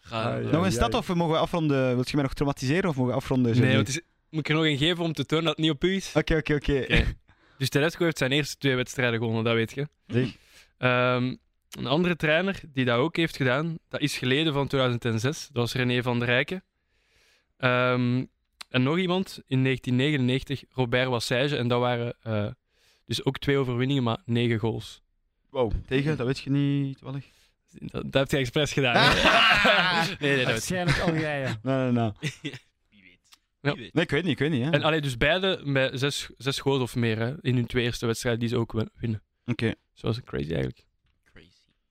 S4: Ga-
S2: ja.
S3: Nog een stad of mogen we afronden? Wilt je mij nog traumatiseren of mogen we afronden?
S1: Nee,
S3: Jeremy?
S1: want het is, moet ik er nog een geven om te tonen dat het niet op u is?
S3: Oké, oké, oké.
S1: Oké. Dus Tedesco heeft zijn eerste twee wedstrijden gewonnen, dat weet je.
S3: Zeg.
S1: Ehm, een andere trainer die dat ook heeft gedaan, dat is geleden van 2006. Dat was René van der Rijken. Ehm, en nog iemand in 1999, Robert Wassage. En dat waren eh, dus ook twee overwinningen, maar negen goals.
S3: Wow, tegen, dat weet je niet, toevallig.
S1: Dat, dat heeft hij expres gedaan.
S3: Ah.
S1: hè? nee, nee, dat weet ik.
S2: Waarschijnlijk Algerije.
S3: Nee, nee, nee.
S4: Wie weet.
S1: Ja.
S4: Wie weet.
S3: Nee, ik weet niet, ik weet niet. Hè.
S1: En allee, dus beide met zes, zes goals of meer hè, in hun twee eerste wedstrijden die ze ook win- winnen.
S3: Oké.
S1: Zo was het crazy eigenlijk.
S4: Crazy.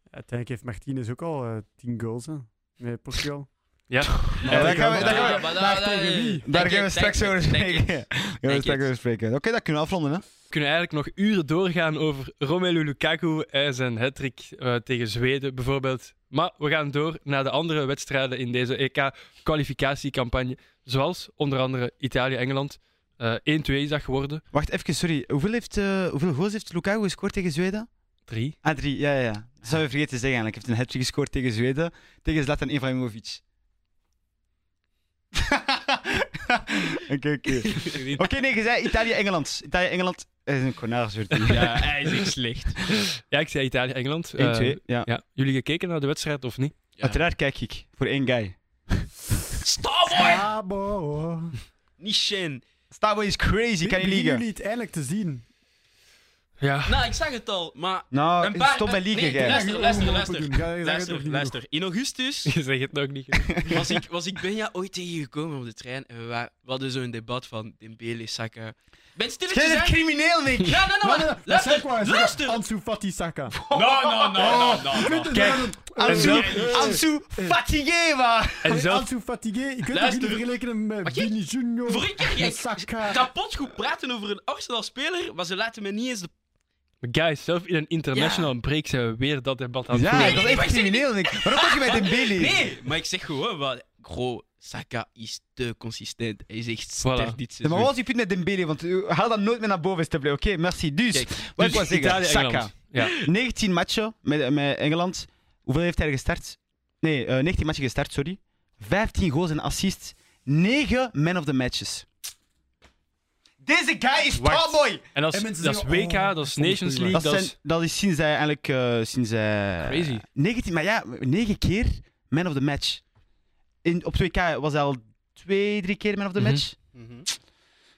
S2: Uiteindelijk heeft Martinez ook al eh, 10 goals, hè. Met Portugal.
S1: Ja.
S3: Ja, daar gaan we- daar gaan we-
S4: Ah, maar
S2: daar
S4: daar-
S2: tegen wie?
S4: denk
S3: Daar
S4: ik,
S3: gaan we
S4: denk
S3: straks
S4: ik,
S3: over
S4: denk
S3: spreken.
S4: ik.
S3: Daar gaan we
S4: Denk
S3: straks
S4: ik.
S3: over spreken. Oké, dat kunnen we afronden, hè.
S1: We kunnen eigenlijk nog uren doorgaan over Romelu Lukaku en zijn hat-trick eh, tegen Zweden bijvoorbeeld. Maar we gaan door naar de andere wedstrijden in deze EK-kwalificatiecampagne. Zoals onder andere Italië-Engeland. Eh, 1-2 is dat geworden.
S3: Wacht even, sorry. Hoeveel, heeft, eh, hoeveel goals heeft Lukaku gescoord tegen Zweden?
S1: 3.
S3: Ah, drie. Ja, ja, ja. Dat zou je vergeten te zeggen eigenlijk. Hij heeft een hat-trick gescoord tegen Zweden. Tegen Zlatan Ibrahimovic. Oké, oké. Oké, nee, je zei Italië-Engeland. Italië-Engeland is een konaarswurt.
S4: Ja, hij is echt slecht.
S1: Ja, ik zei Italië-Engeland. Eh,
S3: 1-2, ja.
S1: ja. Jullie gekeken naar de wedstrijd of niet?
S4: Ja.
S3: Uiteraard kijk ik voor één guy.
S4: Starboy!
S2: Sabo.
S4: Niet Shen.
S3: Starboy is crazy, kan niet
S2: Beginnen
S3: liegen.
S2: jullie het eindelijk te zien?
S1: Ja.
S4: Nou, ik zag het al, maar
S3: Nou,
S4: Een paar-
S3: stop bij leaken,
S4: nee,
S3: guy.
S4: luister, luister, luister.
S2: luister.
S4: Luister, luister. In augustus
S1: Je zegt het ook niet.
S4: was ik, was ik Benja ooit tegengekomen op de trein en we, wa- we hadden zo'n debat van Dembele, Saka. Ben stilletjes,
S3: Jij bent
S4: hè?
S3: crimineel, Nick!
S4: Ja, nee, nee, maar
S2: Luister,
S4: luister, luister.
S2: Ansu Fati Saka.
S4: No, no,
S3: Oh,
S4: no, no, no.
S1: Kijk, en
S2: Ansu,
S1: wel-
S3: Ansu Fatigeva!
S1: en zelf,
S2: Ansu Fatigue, ik kunt het
S4: Luister.
S2: niet vergelijken met
S4: Mag ik?
S2: Vini Junior.
S4: Voor een keer, jij
S2: Saka.
S4: kapot goed praten over een Arsenal-speler, maar ze laten me niet eens de...
S1: guys, zelf in een international break zijn we weer dat debat aan het
S3: Ja,
S1: voeren.
S4: nee,
S3: dat is
S4: nee, maar
S3: echt
S4: ik zeg
S3: crimineel, Nick. Waarom pak je bij Dembele?
S4: Nee, maar ik zeg gewoon, wat, gro, Saka is te consistent. Hij is echt sterk
S1: Voilà.
S3: Ja,
S4: dit
S3: maar
S4: seizoen.
S3: wat als je punt met Dembele? Want eh, haal dat nooit meer naar boven, alsjeblieft. Oké, merci. Dus,
S4: Kijk,
S3: wat
S1: Dus
S3: ik wil zeggen,
S1: Italië,
S3: Saka.
S1: Engeland. Ja.
S3: 19 matchen met, met Engeland. Hoeveel heeft hij er gestart? Nee, eh, 19 matchen gestart, sorry. 15 goals en assists. 9 man of the matches. Deze guy is
S1: Wacht.
S3: topboy!
S1: En dat
S2: En
S1: is,
S2: mensen
S1: dat is
S2: zeggen,
S1: WK,
S2: oh,
S1: dat is
S2: dat is
S1: Nations
S2: goed,
S1: League,
S3: Dat,
S1: dat
S3: zijn,
S1: is...
S3: dat is sinds hij eigenlijk... eh, sinds hij,
S1: Crazy.
S3: 19, maar ja, 9 keer man of the match. In, op 2K was hij al 2, 3 keer man of the
S1: Mhm.
S3: match.
S4: Mhm.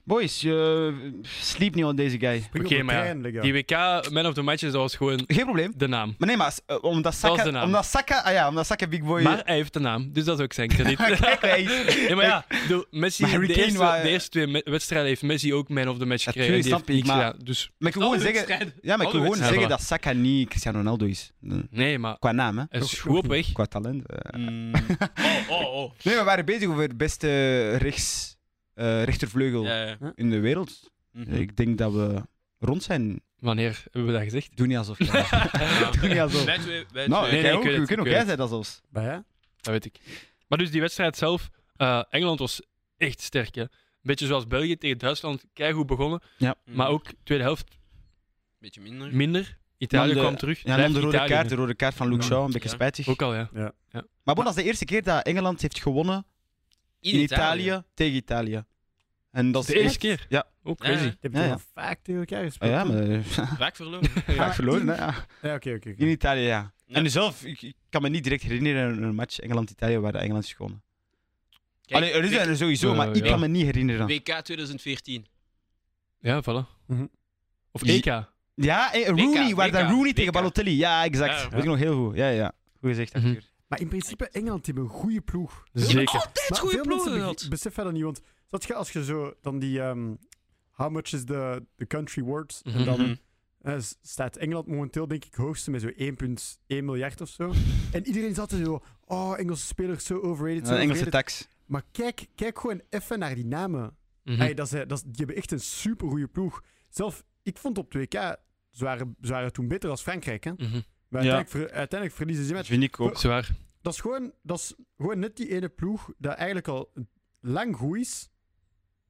S3: Boys, je sleep niet on deze guy.
S2: Spring op
S1: Oké,
S2: de
S1: maar ja,
S2: trein, liggen.
S1: Die WK Man of the Matches, dat was gewoon
S3: Geen probleem.
S1: de naam.
S3: Maar nee, maar als- eh, omdat
S1: Dat was de
S3: Saka,
S1: naam.
S3: omdat Saka, ah ja, omdat Saka Big Boy.
S1: Maar hij heeft de naam, dus dat is ook zijn krediet.
S3: Kijk, hij is-
S1: Ja, maar ja, ik bedoel, Messi,
S3: Maar Harry
S1: de,
S3: Kane
S1: eerste,
S3: wa-
S1: de eerste twee me- wedstrijden heeft Messi ook man of the match
S3: Ja,
S1: gekregen. en
S3: tuurlijk,
S1: die heeft
S3: snap ik,
S1: niks
S3: maar-
S1: gedaan. Dus
S3: Maar ik wil gewoon
S4: Alle
S3: zeggen,
S4: wedstrijden.
S3: ja, maar ik wil
S4: Alle
S3: gewoon
S1: wedstrijden.
S3: zeggen dat Saka niet Cristiano Ronaldo is.
S1: nee, maar
S3: Qua naam, hè?
S1: hij is
S2: Nog-
S1: goed
S2: nog
S1: op weg.
S3: Qua talent. eh.
S4: Mm. Oh, oh, oh.
S3: Nee, we waren bezig over de beste rechts, eh, rechtervleugel
S4: Ja, ja.
S3: in de wereld.
S4: Mhm.
S3: Ik denk dat we rond zijn.
S1: Wanneer hebben we dat gezegd?
S3: Doe niet alsof. Ja.
S4: Ja.
S3: Doe niet alsof.
S4: Wij twee- wij
S3: nou,
S4: twee.
S1: nee,
S3: jij
S1: ik
S3: ook,
S1: weet het,
S3: we
S1: ik
S3: kunnen ook
S1: weet
S3: jij
S1: het.
S3: zijn dat zelfs.
S2: Bah, ja.
S1: Dat weet ik. Maar dus die wedstrijd zelf, eh, Engeland was echt sterk. Hè? Beetje zoals België tegen Duitsland, keigoed begonnen.
S4: Mhm.
S1: Mm. Maar ook tweede helft
S4: Beetje minder.
S1: minder. Italië
S3: Nam de-
S1: kwam terug.
S3: Ja, en dan
S1: Blijft
S3: de rode
S1: Italië
S3: kaart, de
S1: nu.
S3: rode kaart van Luke
S2: Ja.
S3: Shaw, een beetje
S4: Ja.
S3: spijtig.
S1: Ook al, ja.
S3: Maar bon, dat is de eerste keer dat Engeland heeft gewonnen in, Italië. tegen Italië. En dat is
S1: De eerste keer.
S3: Ja.
S1: Ook
S4: Ja, ja.
S1: crazy.
S2: Ik heb
S3: Ja,
S2: toch
S3: ja.
S2: al vaak tegen elkaar
S3: Ah
S2: gespeeld.
S3: ja,
S2: hè?
S3: maar
S4: Vaak verloren.
S3: vaak verloren,
S2: in-
S3: hè? Ja.
S2: Ja, oké, oké. oké.
S3: In Italië, ja.
S4: Ja.
S3: En dus zelf, ik, ik kan me niet direct herinneren aan een match Engeland-Italië waar de Engeland is gewonnen.
S4: Kijk,
S3: Allee, er is er sowieso,
S1: Eh,
S3: maar ik
S1: ja.
S3: kan me niet herinneren.
S4: WK 2014.
S1: Ja, voilà.
S2: Mhm.
S1: Of
S3: Je-
S1: EK.
S3: Ja, eh,
S4: WK,
S3: Rooney, waar
S4: WK,
S3: dan Rooney
S4: WK.
S3: tegen Balotelli. Ja, exact.
S4: Ja.
S3: Weet ik nog heel goed. Ja, ja. Goed gezegd,
S1: Mhm.
S3: Arthur.
S2: Maar in principe, Engeland die hebben een goede ploeg.
S1: Zeker.
S4: Altijd
S2: Maar
S4: goede
S2: veel mensen
S4: ploegen
S2: beg-
S4: gehad.
S2: beseffen dat niet, want zat je, als je zo dan die ehm, How much is the, the country worth?
S1: Mhm.
S2: En dan
S4: Mhm.
S2: eh, s- staat Engeland momenteel denk ik hoogste met zo'n 1,1 miljard of zo. En iedereen zat er zo, oh, Engelse spelers, zo overrated, zo
S3: Een eh, Engelse
S2: overrated.
S3: tax.
S2: Maar kijk, kijk gewoon even naar die namen.
S1: Mhm.
S2: Hey, dat is, eh, dat is- die hebben echt een supergoeie ploeg. Zelf, ik vond op 2K, ze waren, ze waren toen beter als Frankrijk. Hè?
S1: Mhm.
S2: Maar
S3: Ja.
S2: uiteindelijk, ver- uiteindelijk verliezen ze
S3: Dat
S2: met...
S3: vind ik ook.
S1: Zwaar.
S2: Dat is, gewoon, dat is gewoon net die ene ploeg dat eigenlijk al lang goed is.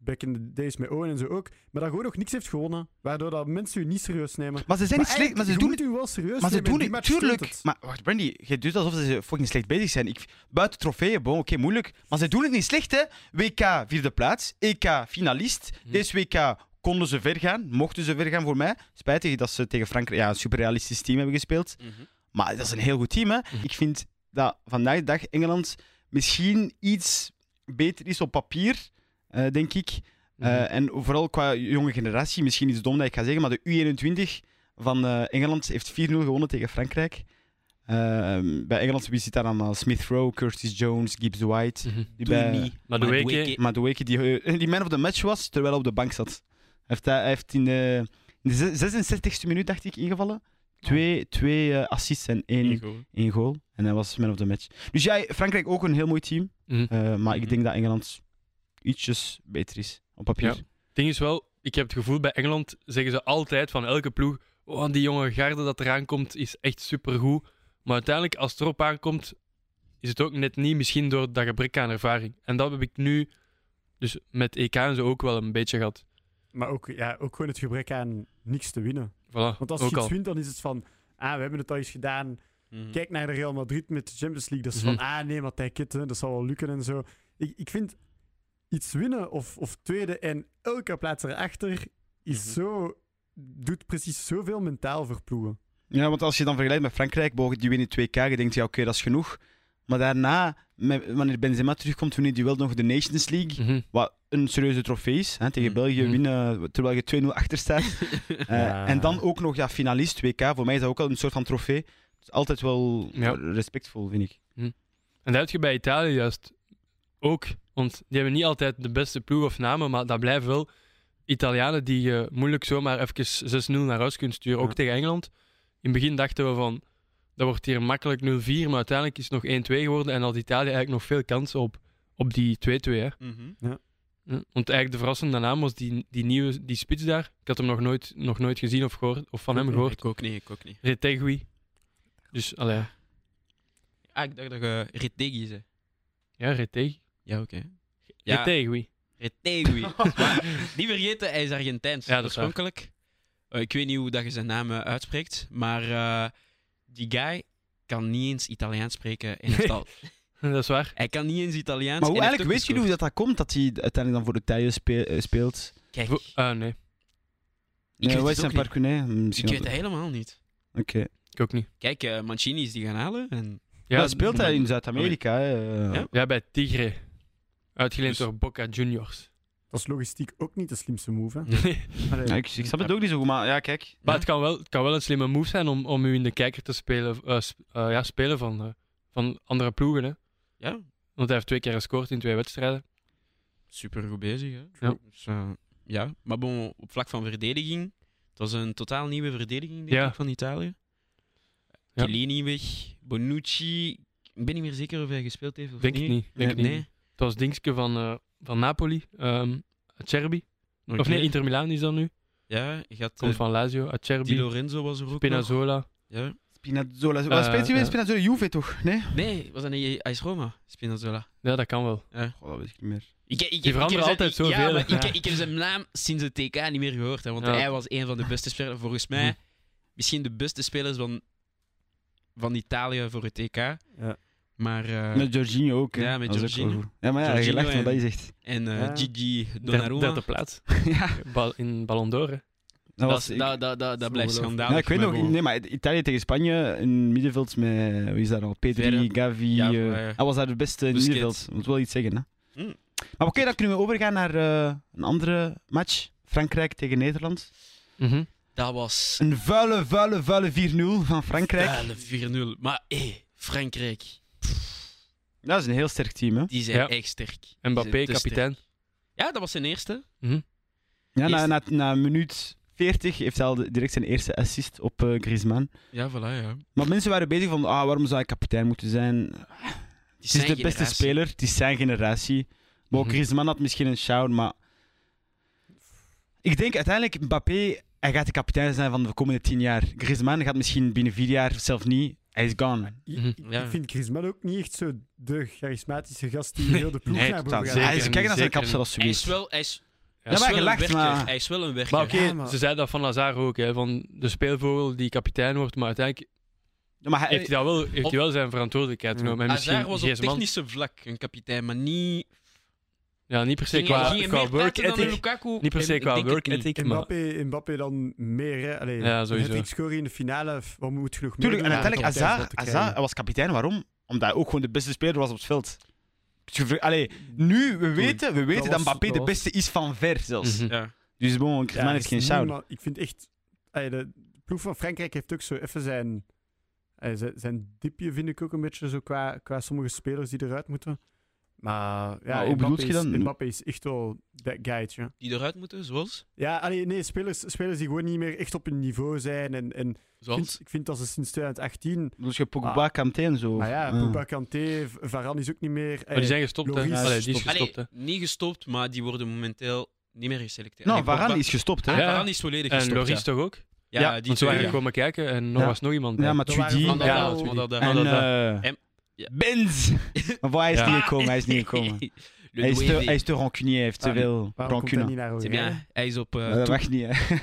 S2: Back in the days met Owen en zo ook. Maar dat gewoon nog niks heeft gewonnen. Waardoor dat mensen u niet serieus nemen.
S3: Maar ze zijn niet
S2: Maar
S3: slecht, maar ze doen
S2: het
S3: het.
S2: u wel serieus.
S3: Maar ze
S2: nemen,
S3: doen
S2: die
S3: het,
S2: match
S3: tuurlijk.
S2: stond het.
S3: Maar wacht, Brandy, je doet alsof ze fucking slecht bezig zijn. Ik, buiten trofeeën, bon, oké, moeilijk. Maar ze doen het niet slecht, hè? WK vierde plaats, EK finalist.
S1: Mhm.
S3: Deze WK konden ze ver gaan, mochten ze ver gaan voor mij. Spijtig dat ze tegen Frankrijk ja, een superrealistisch team hebben gespeeld.
S4: Mhm.
S3: Maar dat is een heel goed team. Hè.
S1: Mhm.
S3: Ik vind dat vandaag de dag Engeland misschien iets beter is op papier, eh, denk ik. Eh,
S1: Mhm.
S3: En vooral qua jonge generatie, misschien iets dom dat ik ga zeggen, maar de U21 van eh, Engeland heeft 4-0 gewonnen tegen Frankrijk. Eh, bij Engeland wie zit daar allemaal? Smith Rowe, Curtis Jones, Gibbs White.
S1: Mhm.
S3: Die
S4: Doe
S3: bij
S4: niet.
S1: Maar de
S4: Maar
S1: WK,
S4: Dweke-
S3: Madueke, die, eh, die man of the match was, terwijl hij op de bank zat. Hij heeft, eh, hij heeft in de, in de 66e minuut, dacht ik, ingevallen. Twee, twee eh, assists en één één goal. En hij was man of the match. Dus jij, Frankrijk ook een heel mooi team.
S1: Mhm.
S3: eh, maar ik
S4: Mhm.
S3: denk dat Engeland ietsjes beter is op papier.
S1: Ja. ding is wel, ik heb het gevoel bij Engeland zeggen ze altijd van elke ploeg: oh, die jonge garde dat eraan komt is echt supergoed. Maar uiteindelijk, als het erop aankomt, is het ook net niet misschien door dat gebrek aan ervaring. En dat heb ik nu, dus met EK en zo ook wel een beetje gehad.
S2: Maar ook, ja, ook gewoon het gebrek aan niks te winnen.
S1: Voilà,
S2: Want als
S1: ook
S2: je iets
S1: al. Hm.
S2: wint, dan is het van... Ah, we hebben het al eens gedaan.
S4: Mhm.
S2: Kijk naar de Real Madrid met de Champions League. Dat is
S1: Mhm.
S2: van, ah nee, maar hij kitten, dat zal wel lukken en zo. Ik, ik vind iets winnen of, of tweede en elke plaats erachter is
S1: Hm.
S4: Mhm.
S2: zo, doet precies zoveel mentaal verploegen.
S3: Ja, want als je dan vergelijkt met Frankrijk, bogen die winnen 2K, je denkt ja, oké, dat is genoeg. Maar daarna, met- wanneer Benzema terugkomt, toen hij wel nog de Nations League.
S1: Mhm.
S3: Wat een serieuze trofee is. Hè, tegen
S4: Mm.
S3: België
S1: Mm.
S3: winnen terwijl je 2-0 achter staat. Eh,
S2: Ja.
S3: En dan ook nog ja, finalist WK. Voor mij is dat ook al een soort van trofee. Dus altijd wel
S1: Ja.
S3: respectvol, vind ik.
S1: En dat heb je bij Italië juist ook. Want die hebben niet altijd de beste ploeg of namen, maar dat blijven wel Italianen die je moeilijk zomaar even 6-0 naar huis kunt sturen. Ook
S3: Ja.
S1: tegen Engeland. In het begin dachten we van, dat wordt hier makkelijk 0-4, maar uiteindelijk is het nog 1-2 geworden en had Italië eigenlijk nog veel kansen op, op die 2-2. Hè?
S4: Mhm.
S1: Ja, Want eigenlijk de verrassende naam was die, die nieuwe die spits daar. Ik had hem nog nooit, nog nooit gezien of, gehoord, of van hem gehoord.
S4: Ik ook niet, ik ook niet.
S1: Retegui. Dus, allee,
S4: Ah, ik dacht dat je Retegi zei.
S1: ja, Retegui.
S4: Ja, oké. Ja,
S1: Retegui.
S4: Retegui. Maar niet vergeten, hij is Argentijns.
S1: Ja, dat is waar.
S4: oorspronkelijk. Eh, ik weet niet hoe dat je zijn naam eh, uitspreekt, maar eh, die guy kan niet eens Italiaans spreken. En heeft al,
S1: Dat is waar.
S4: hij kan niet eens Italiaans.
S3: Maar hoe
S4: en heeft
S3: eigenlijk
S4: ook
S3: weet jullie hoe
S4: gescoord.
S3: dat, dat komt dat hij uiteindelijk dan voor de Italië speel- eh, speelt?
S4: Kijk,
S1: Vo- ah, nee,
S4: ik
S3: Eh,
S4: weet
S3: wat
S4: het
S3: is zijn
S4: ook niet.
S3: parcours?
S4: Ik weet het helemaal niet.
S3: Oké.
S1: ik ook niet.
S4: Kijk, eh, Mancini is die gaan halen. En...
S1: Ja,
S3: dat speelt hij in Zuid-Amerika. hè, eh.
S4: Ja?
S1: Ja, bij Tigre. Uitgeleend
S4: Dus-
S1: door Boca Juniors.
S2: Dat is logistiek ook niet de slimste move. Hè?
S1: Nee.
S2: Allee,
S3: Ja, ik, ik snap het ook niet zo goed, maar ja, kijk.
S1: Maar het kan, wel, het kan wel een slimme move zijn om, om u in de kijker te spelen, eh, sp- eh, ja, spelen van, eh, van andere ploegen. Hè?
S4: Ja,
S1: Want hij heeft twee keer gescoord in twee wedstrijden.
S4: super goed bezig. Hè?
S1: Ja.
S4: Dus, eh, ja. Maar bon, op vlak van verdediging, het was een totaal nieuwe verdediging denk
S1: Ja.
S4: ik, van Italië.
S1: Ja.
S4: Chiellini weg, Bonucci. Ik ben niet meer zeker of hij gespeeld heeft of
S1: Denk
S4: niet.
S1: ik niet. Denk ik
S4: nee,
S1: niet. Het was Dingske van, eh, van Napoli, ehm Acerbi.
S4: nog
S1: Of nee,
S4: niet.
S1: Inter Milaan is dat nu.
S4: Ja, je had
S1: Komt
S4: eh,
S1: van Lazio,
S4: Di
S1: Acerbi,
S4: Lorenzo was er ook nog.
S1: Spinazzola.
S4: Ja.
S3: Spinazzola.
S1: Eh,
S3: Wat speelt hij weer?
S1: ja.
S3: Spinazzola Juve toch? Nee?
S4: Nee, was dat niet AS Roma? Spinazzola.
S1: Ja, dat kan wel.
S3: Goh, dat weet ik niet meer.
S4: Ik, ik,
S1: Die veranderen
S4: ik heb zijn-
S1: altijd zoveel,
S4: Ja, maar
S1: hè.
S4: ik,
S1: Ja.
S4: ik heb zijn naam sinds het TK niet meer gehoord. Hè, want
S1: Ja. Hm.
S4: hij was een van de beste spelers. Volgens mij misschien de beste spelers van, van Italië voor het TK. Maar, eh,
S3: Met Jorginho ook. hè.
S4: Ja, met
S3: Dat is ook wel
S4: Jorginho.
S3: goed. Ja, maar ja, je
S4: Jorginho
S3: lacht
S4: en-
S3: wat dat je zegt.
S4: en eh,
S2: Ja.
S4: Gigi
S1: Derde,
S4: Donnarumma.
S1: derde plaats.
S3: ja,
S1: Bal, in Ballon d'Or. hè.
S3: dat
S4: dat,
S3: was...
S4: is-
S3: ik-
S4: dat, dat, dat, dat blijft
S2: ongelooflijk.
S4: schandalig.
S3: Ja, ik weet
S4: maar
S3: nog,
S4: bon.
S3: nee, maar Italië tegen Spanje, een middenveld met, wie is dat al? Pedri,
S4: Verre.
S3: Gavi.
S4: Ja,
S3: eh,
S4: maar-
S3: hij was daar de beste in het
S4: Busquets.
S3: middenveld, moet wel iets zeggen. Hè?
S4: Hmm.
S3: Maar oké, dan kunnen we overgaan naar eh, een andere match. Frankrijk tegen Nederland.
S1: Mhm.
S4: Dat was
S3: Een vuile, vuile, vuile 4-0 van Frankrijk.
S4: vuile 4-0. Maar hé, Frankrijk,
S3: Dat is een heel sterk team, hè?
S4: die zijn
S1: Ja.
S4: echt sterk. Die zijn
S1: Mbappé,
S4: te sterk.
S1: kapitein.
S4: Ja, dat was zijn eerste.
S1: Mhm.
S3: Ja, na,
S4: Eerst-
S3: na, na minuut 40 heeft hij al de- direct zijn eerste assist op eh, Griezmann.
S4: Ja, voilà, ja.
S3: Maar mensen waren bezig van, ah, waarom zou hij kapitein moeten zijn?
S4: Die
S3: Het is de
S4: zijn
S3: beste
S4: generatie.
S3: speler, het is zijn generatie. Maar ook
S1: Mhm.
S3: Griezmann had misschien een shout, maar... Ik denk uiteindelijk, Mbappé, hij gaat de kapitein zijn van de komende tien jaar. Griezmann gaat misschien binnen vier jaar, zelf niet. Hij is gone.
S1: Hm.
S2: ik- ik,
S4: Ja.
S2: ik vind Griezmann ook niet echt zo de charismatische gast die
S1: Nee.
S2: heel de ploeg
S1: Nee,
S2: naar
S1: totaal.
S2: boven gaat.
S1: Zeker
S3: hij is
S1: niet,
S3: kijken naar zijn
S1: zeker
S3: kapsel
S1: niet.
S3: als
S4: Hij is
S3: zoiets.
S4: wel, hij is,
S1: Ja,
S4: hij is
S3: maar
S4: wel een
S3: gelacht,
S4: werker.
S3: maar-
S4: Hij is wel een werker.
S1: Maar oké,
S2: Ja, maar-
S1: ze zei dat van Lazar ook, hè, van de speelvogel die kapitein wordt, maar uiteindelijk
S3: Ja, maar hij-
S1: heeft hij, dat wel, heeft
S4: Eh, Op-
S1: hij wel zijn verantwoordelijkheid
S2: Ja.
S1: genomen. En misschien
S4: Hazard was op
S1: Griezmann-
S4: technische vlak een kapitein, maar niet...
S1: Ja, niet per se
S4: Ging-
S1: qua,
S4: ging je
S1: qua
S4: meer
S1: work
S4: plaatsen dan
S1: ethic.
S4: Lukaku?
S1: Niet per se
S4: Ik- ik
S1: qua
S4: denk het
S1: work
S4: niet.
S1: ethic, maar...
S2: Mbappé, Mbappé dan meer, hè? Allee,
S1: Ja, sowieso.
S2: Ik scoren in de finale, f- wat moet je nog meer
S3: Tuurlijk, en
S2: doen om
S3: uiteindelijk,
S2: kapitein
S3: Hazard,
S2: te
S3: Hazard
S2: krijgen?
S3: hij was kapitein. Waarom? Omdat hij ook gewoon de beste speler was op het veld. Dus je ver- Allee, nu, we weten, we weten dat,
S2: dat was-
S3: Mbappé
S2: dat
S3: de
S2: was-
S3: beste is van ver zelfs.
S1: Mhm.
S4: Ja.
S3: Dus bon,
S2: Ja,
S3: Griezmann heeft geen
S2: is
S3: shout.
S2: niemand- Ik vind echt... allee, de de ploeg van Frankrijk heeft ook zo even zijn... allee, zijn- Zijn dipje vind ik ook een beetje zo qua, qua sommige spelers die eruit moeten. Maar ja,
S3: Maar hoe bedoel
S2: Mbappé
S3: je
S2: is-
S3: dan?
S2: Mbappé is echt wel dat guytje.
S4: Die eruit moeten, zoals?
S2: Ja, allee, nee, spelers, spelers die gewoon niet meer echt op hun niveau zijn. En, en ik, vind,
S4: Zoals?
S2: ik vind dat ze sinds 2018...
S3: Dus je Pogba, Kanté en zo.
S2: Maar ja,
S3: Ah.
S2: Pogba, Kanté, V- Varane is ook niet meer...
S1: Maar die
S2: allee,
S1: zijn gestopt, hè.
S2: Loris
S1: Allee, die is
S2: stopt.
S1: gestopt, hè.
S4: Allee, niet gestopt, maar die worden momenteel niet meer geselecteerd.
S3: Nou,
S4: Allee,
S3: Varane
S4: Pogba-
S3: is gestopt, hè?
S4: Ah,
S1: Ja.
S4: Varane is volledig
S1: En
S4: gestopt,
S1: Loris
S4: ja.
S1: toch ook?
S4: Ja,
S3: Ja,
S4: die
S1: Want ze waren
S4: twee, ja.
S1: komen kijken en er
S3: Ja.
S1: was nog iemand
S3: Ja,
S1: bij.
S3: maar
S2: Dat waren
S3: Tudy
S2: Van Dijk.
S3: ja,
S4: Ja,
S2: Ja,
S4: Mandanda.
S3: en
S4: Mandanda.
S3: eh,
S4: En- ja.
S3: Benz. maar voor hij is
S1: Ja.
S3: niet gekomen, hij eh, is niet gekomen.
S4: Le
S3: hij, is te,
S4: Dueve.
S3: hij is te rancunier, hij heeft te
S2: Ah,
S3: veel
S2: Waarom komt hij
S3: rancune.
S2: niet naar
S4: C'est
S2: Oranje?
S4: bien. Hij is op... eh,
S3: Maar Dat
S4: toe-
S3: mag niet, hè? Stel je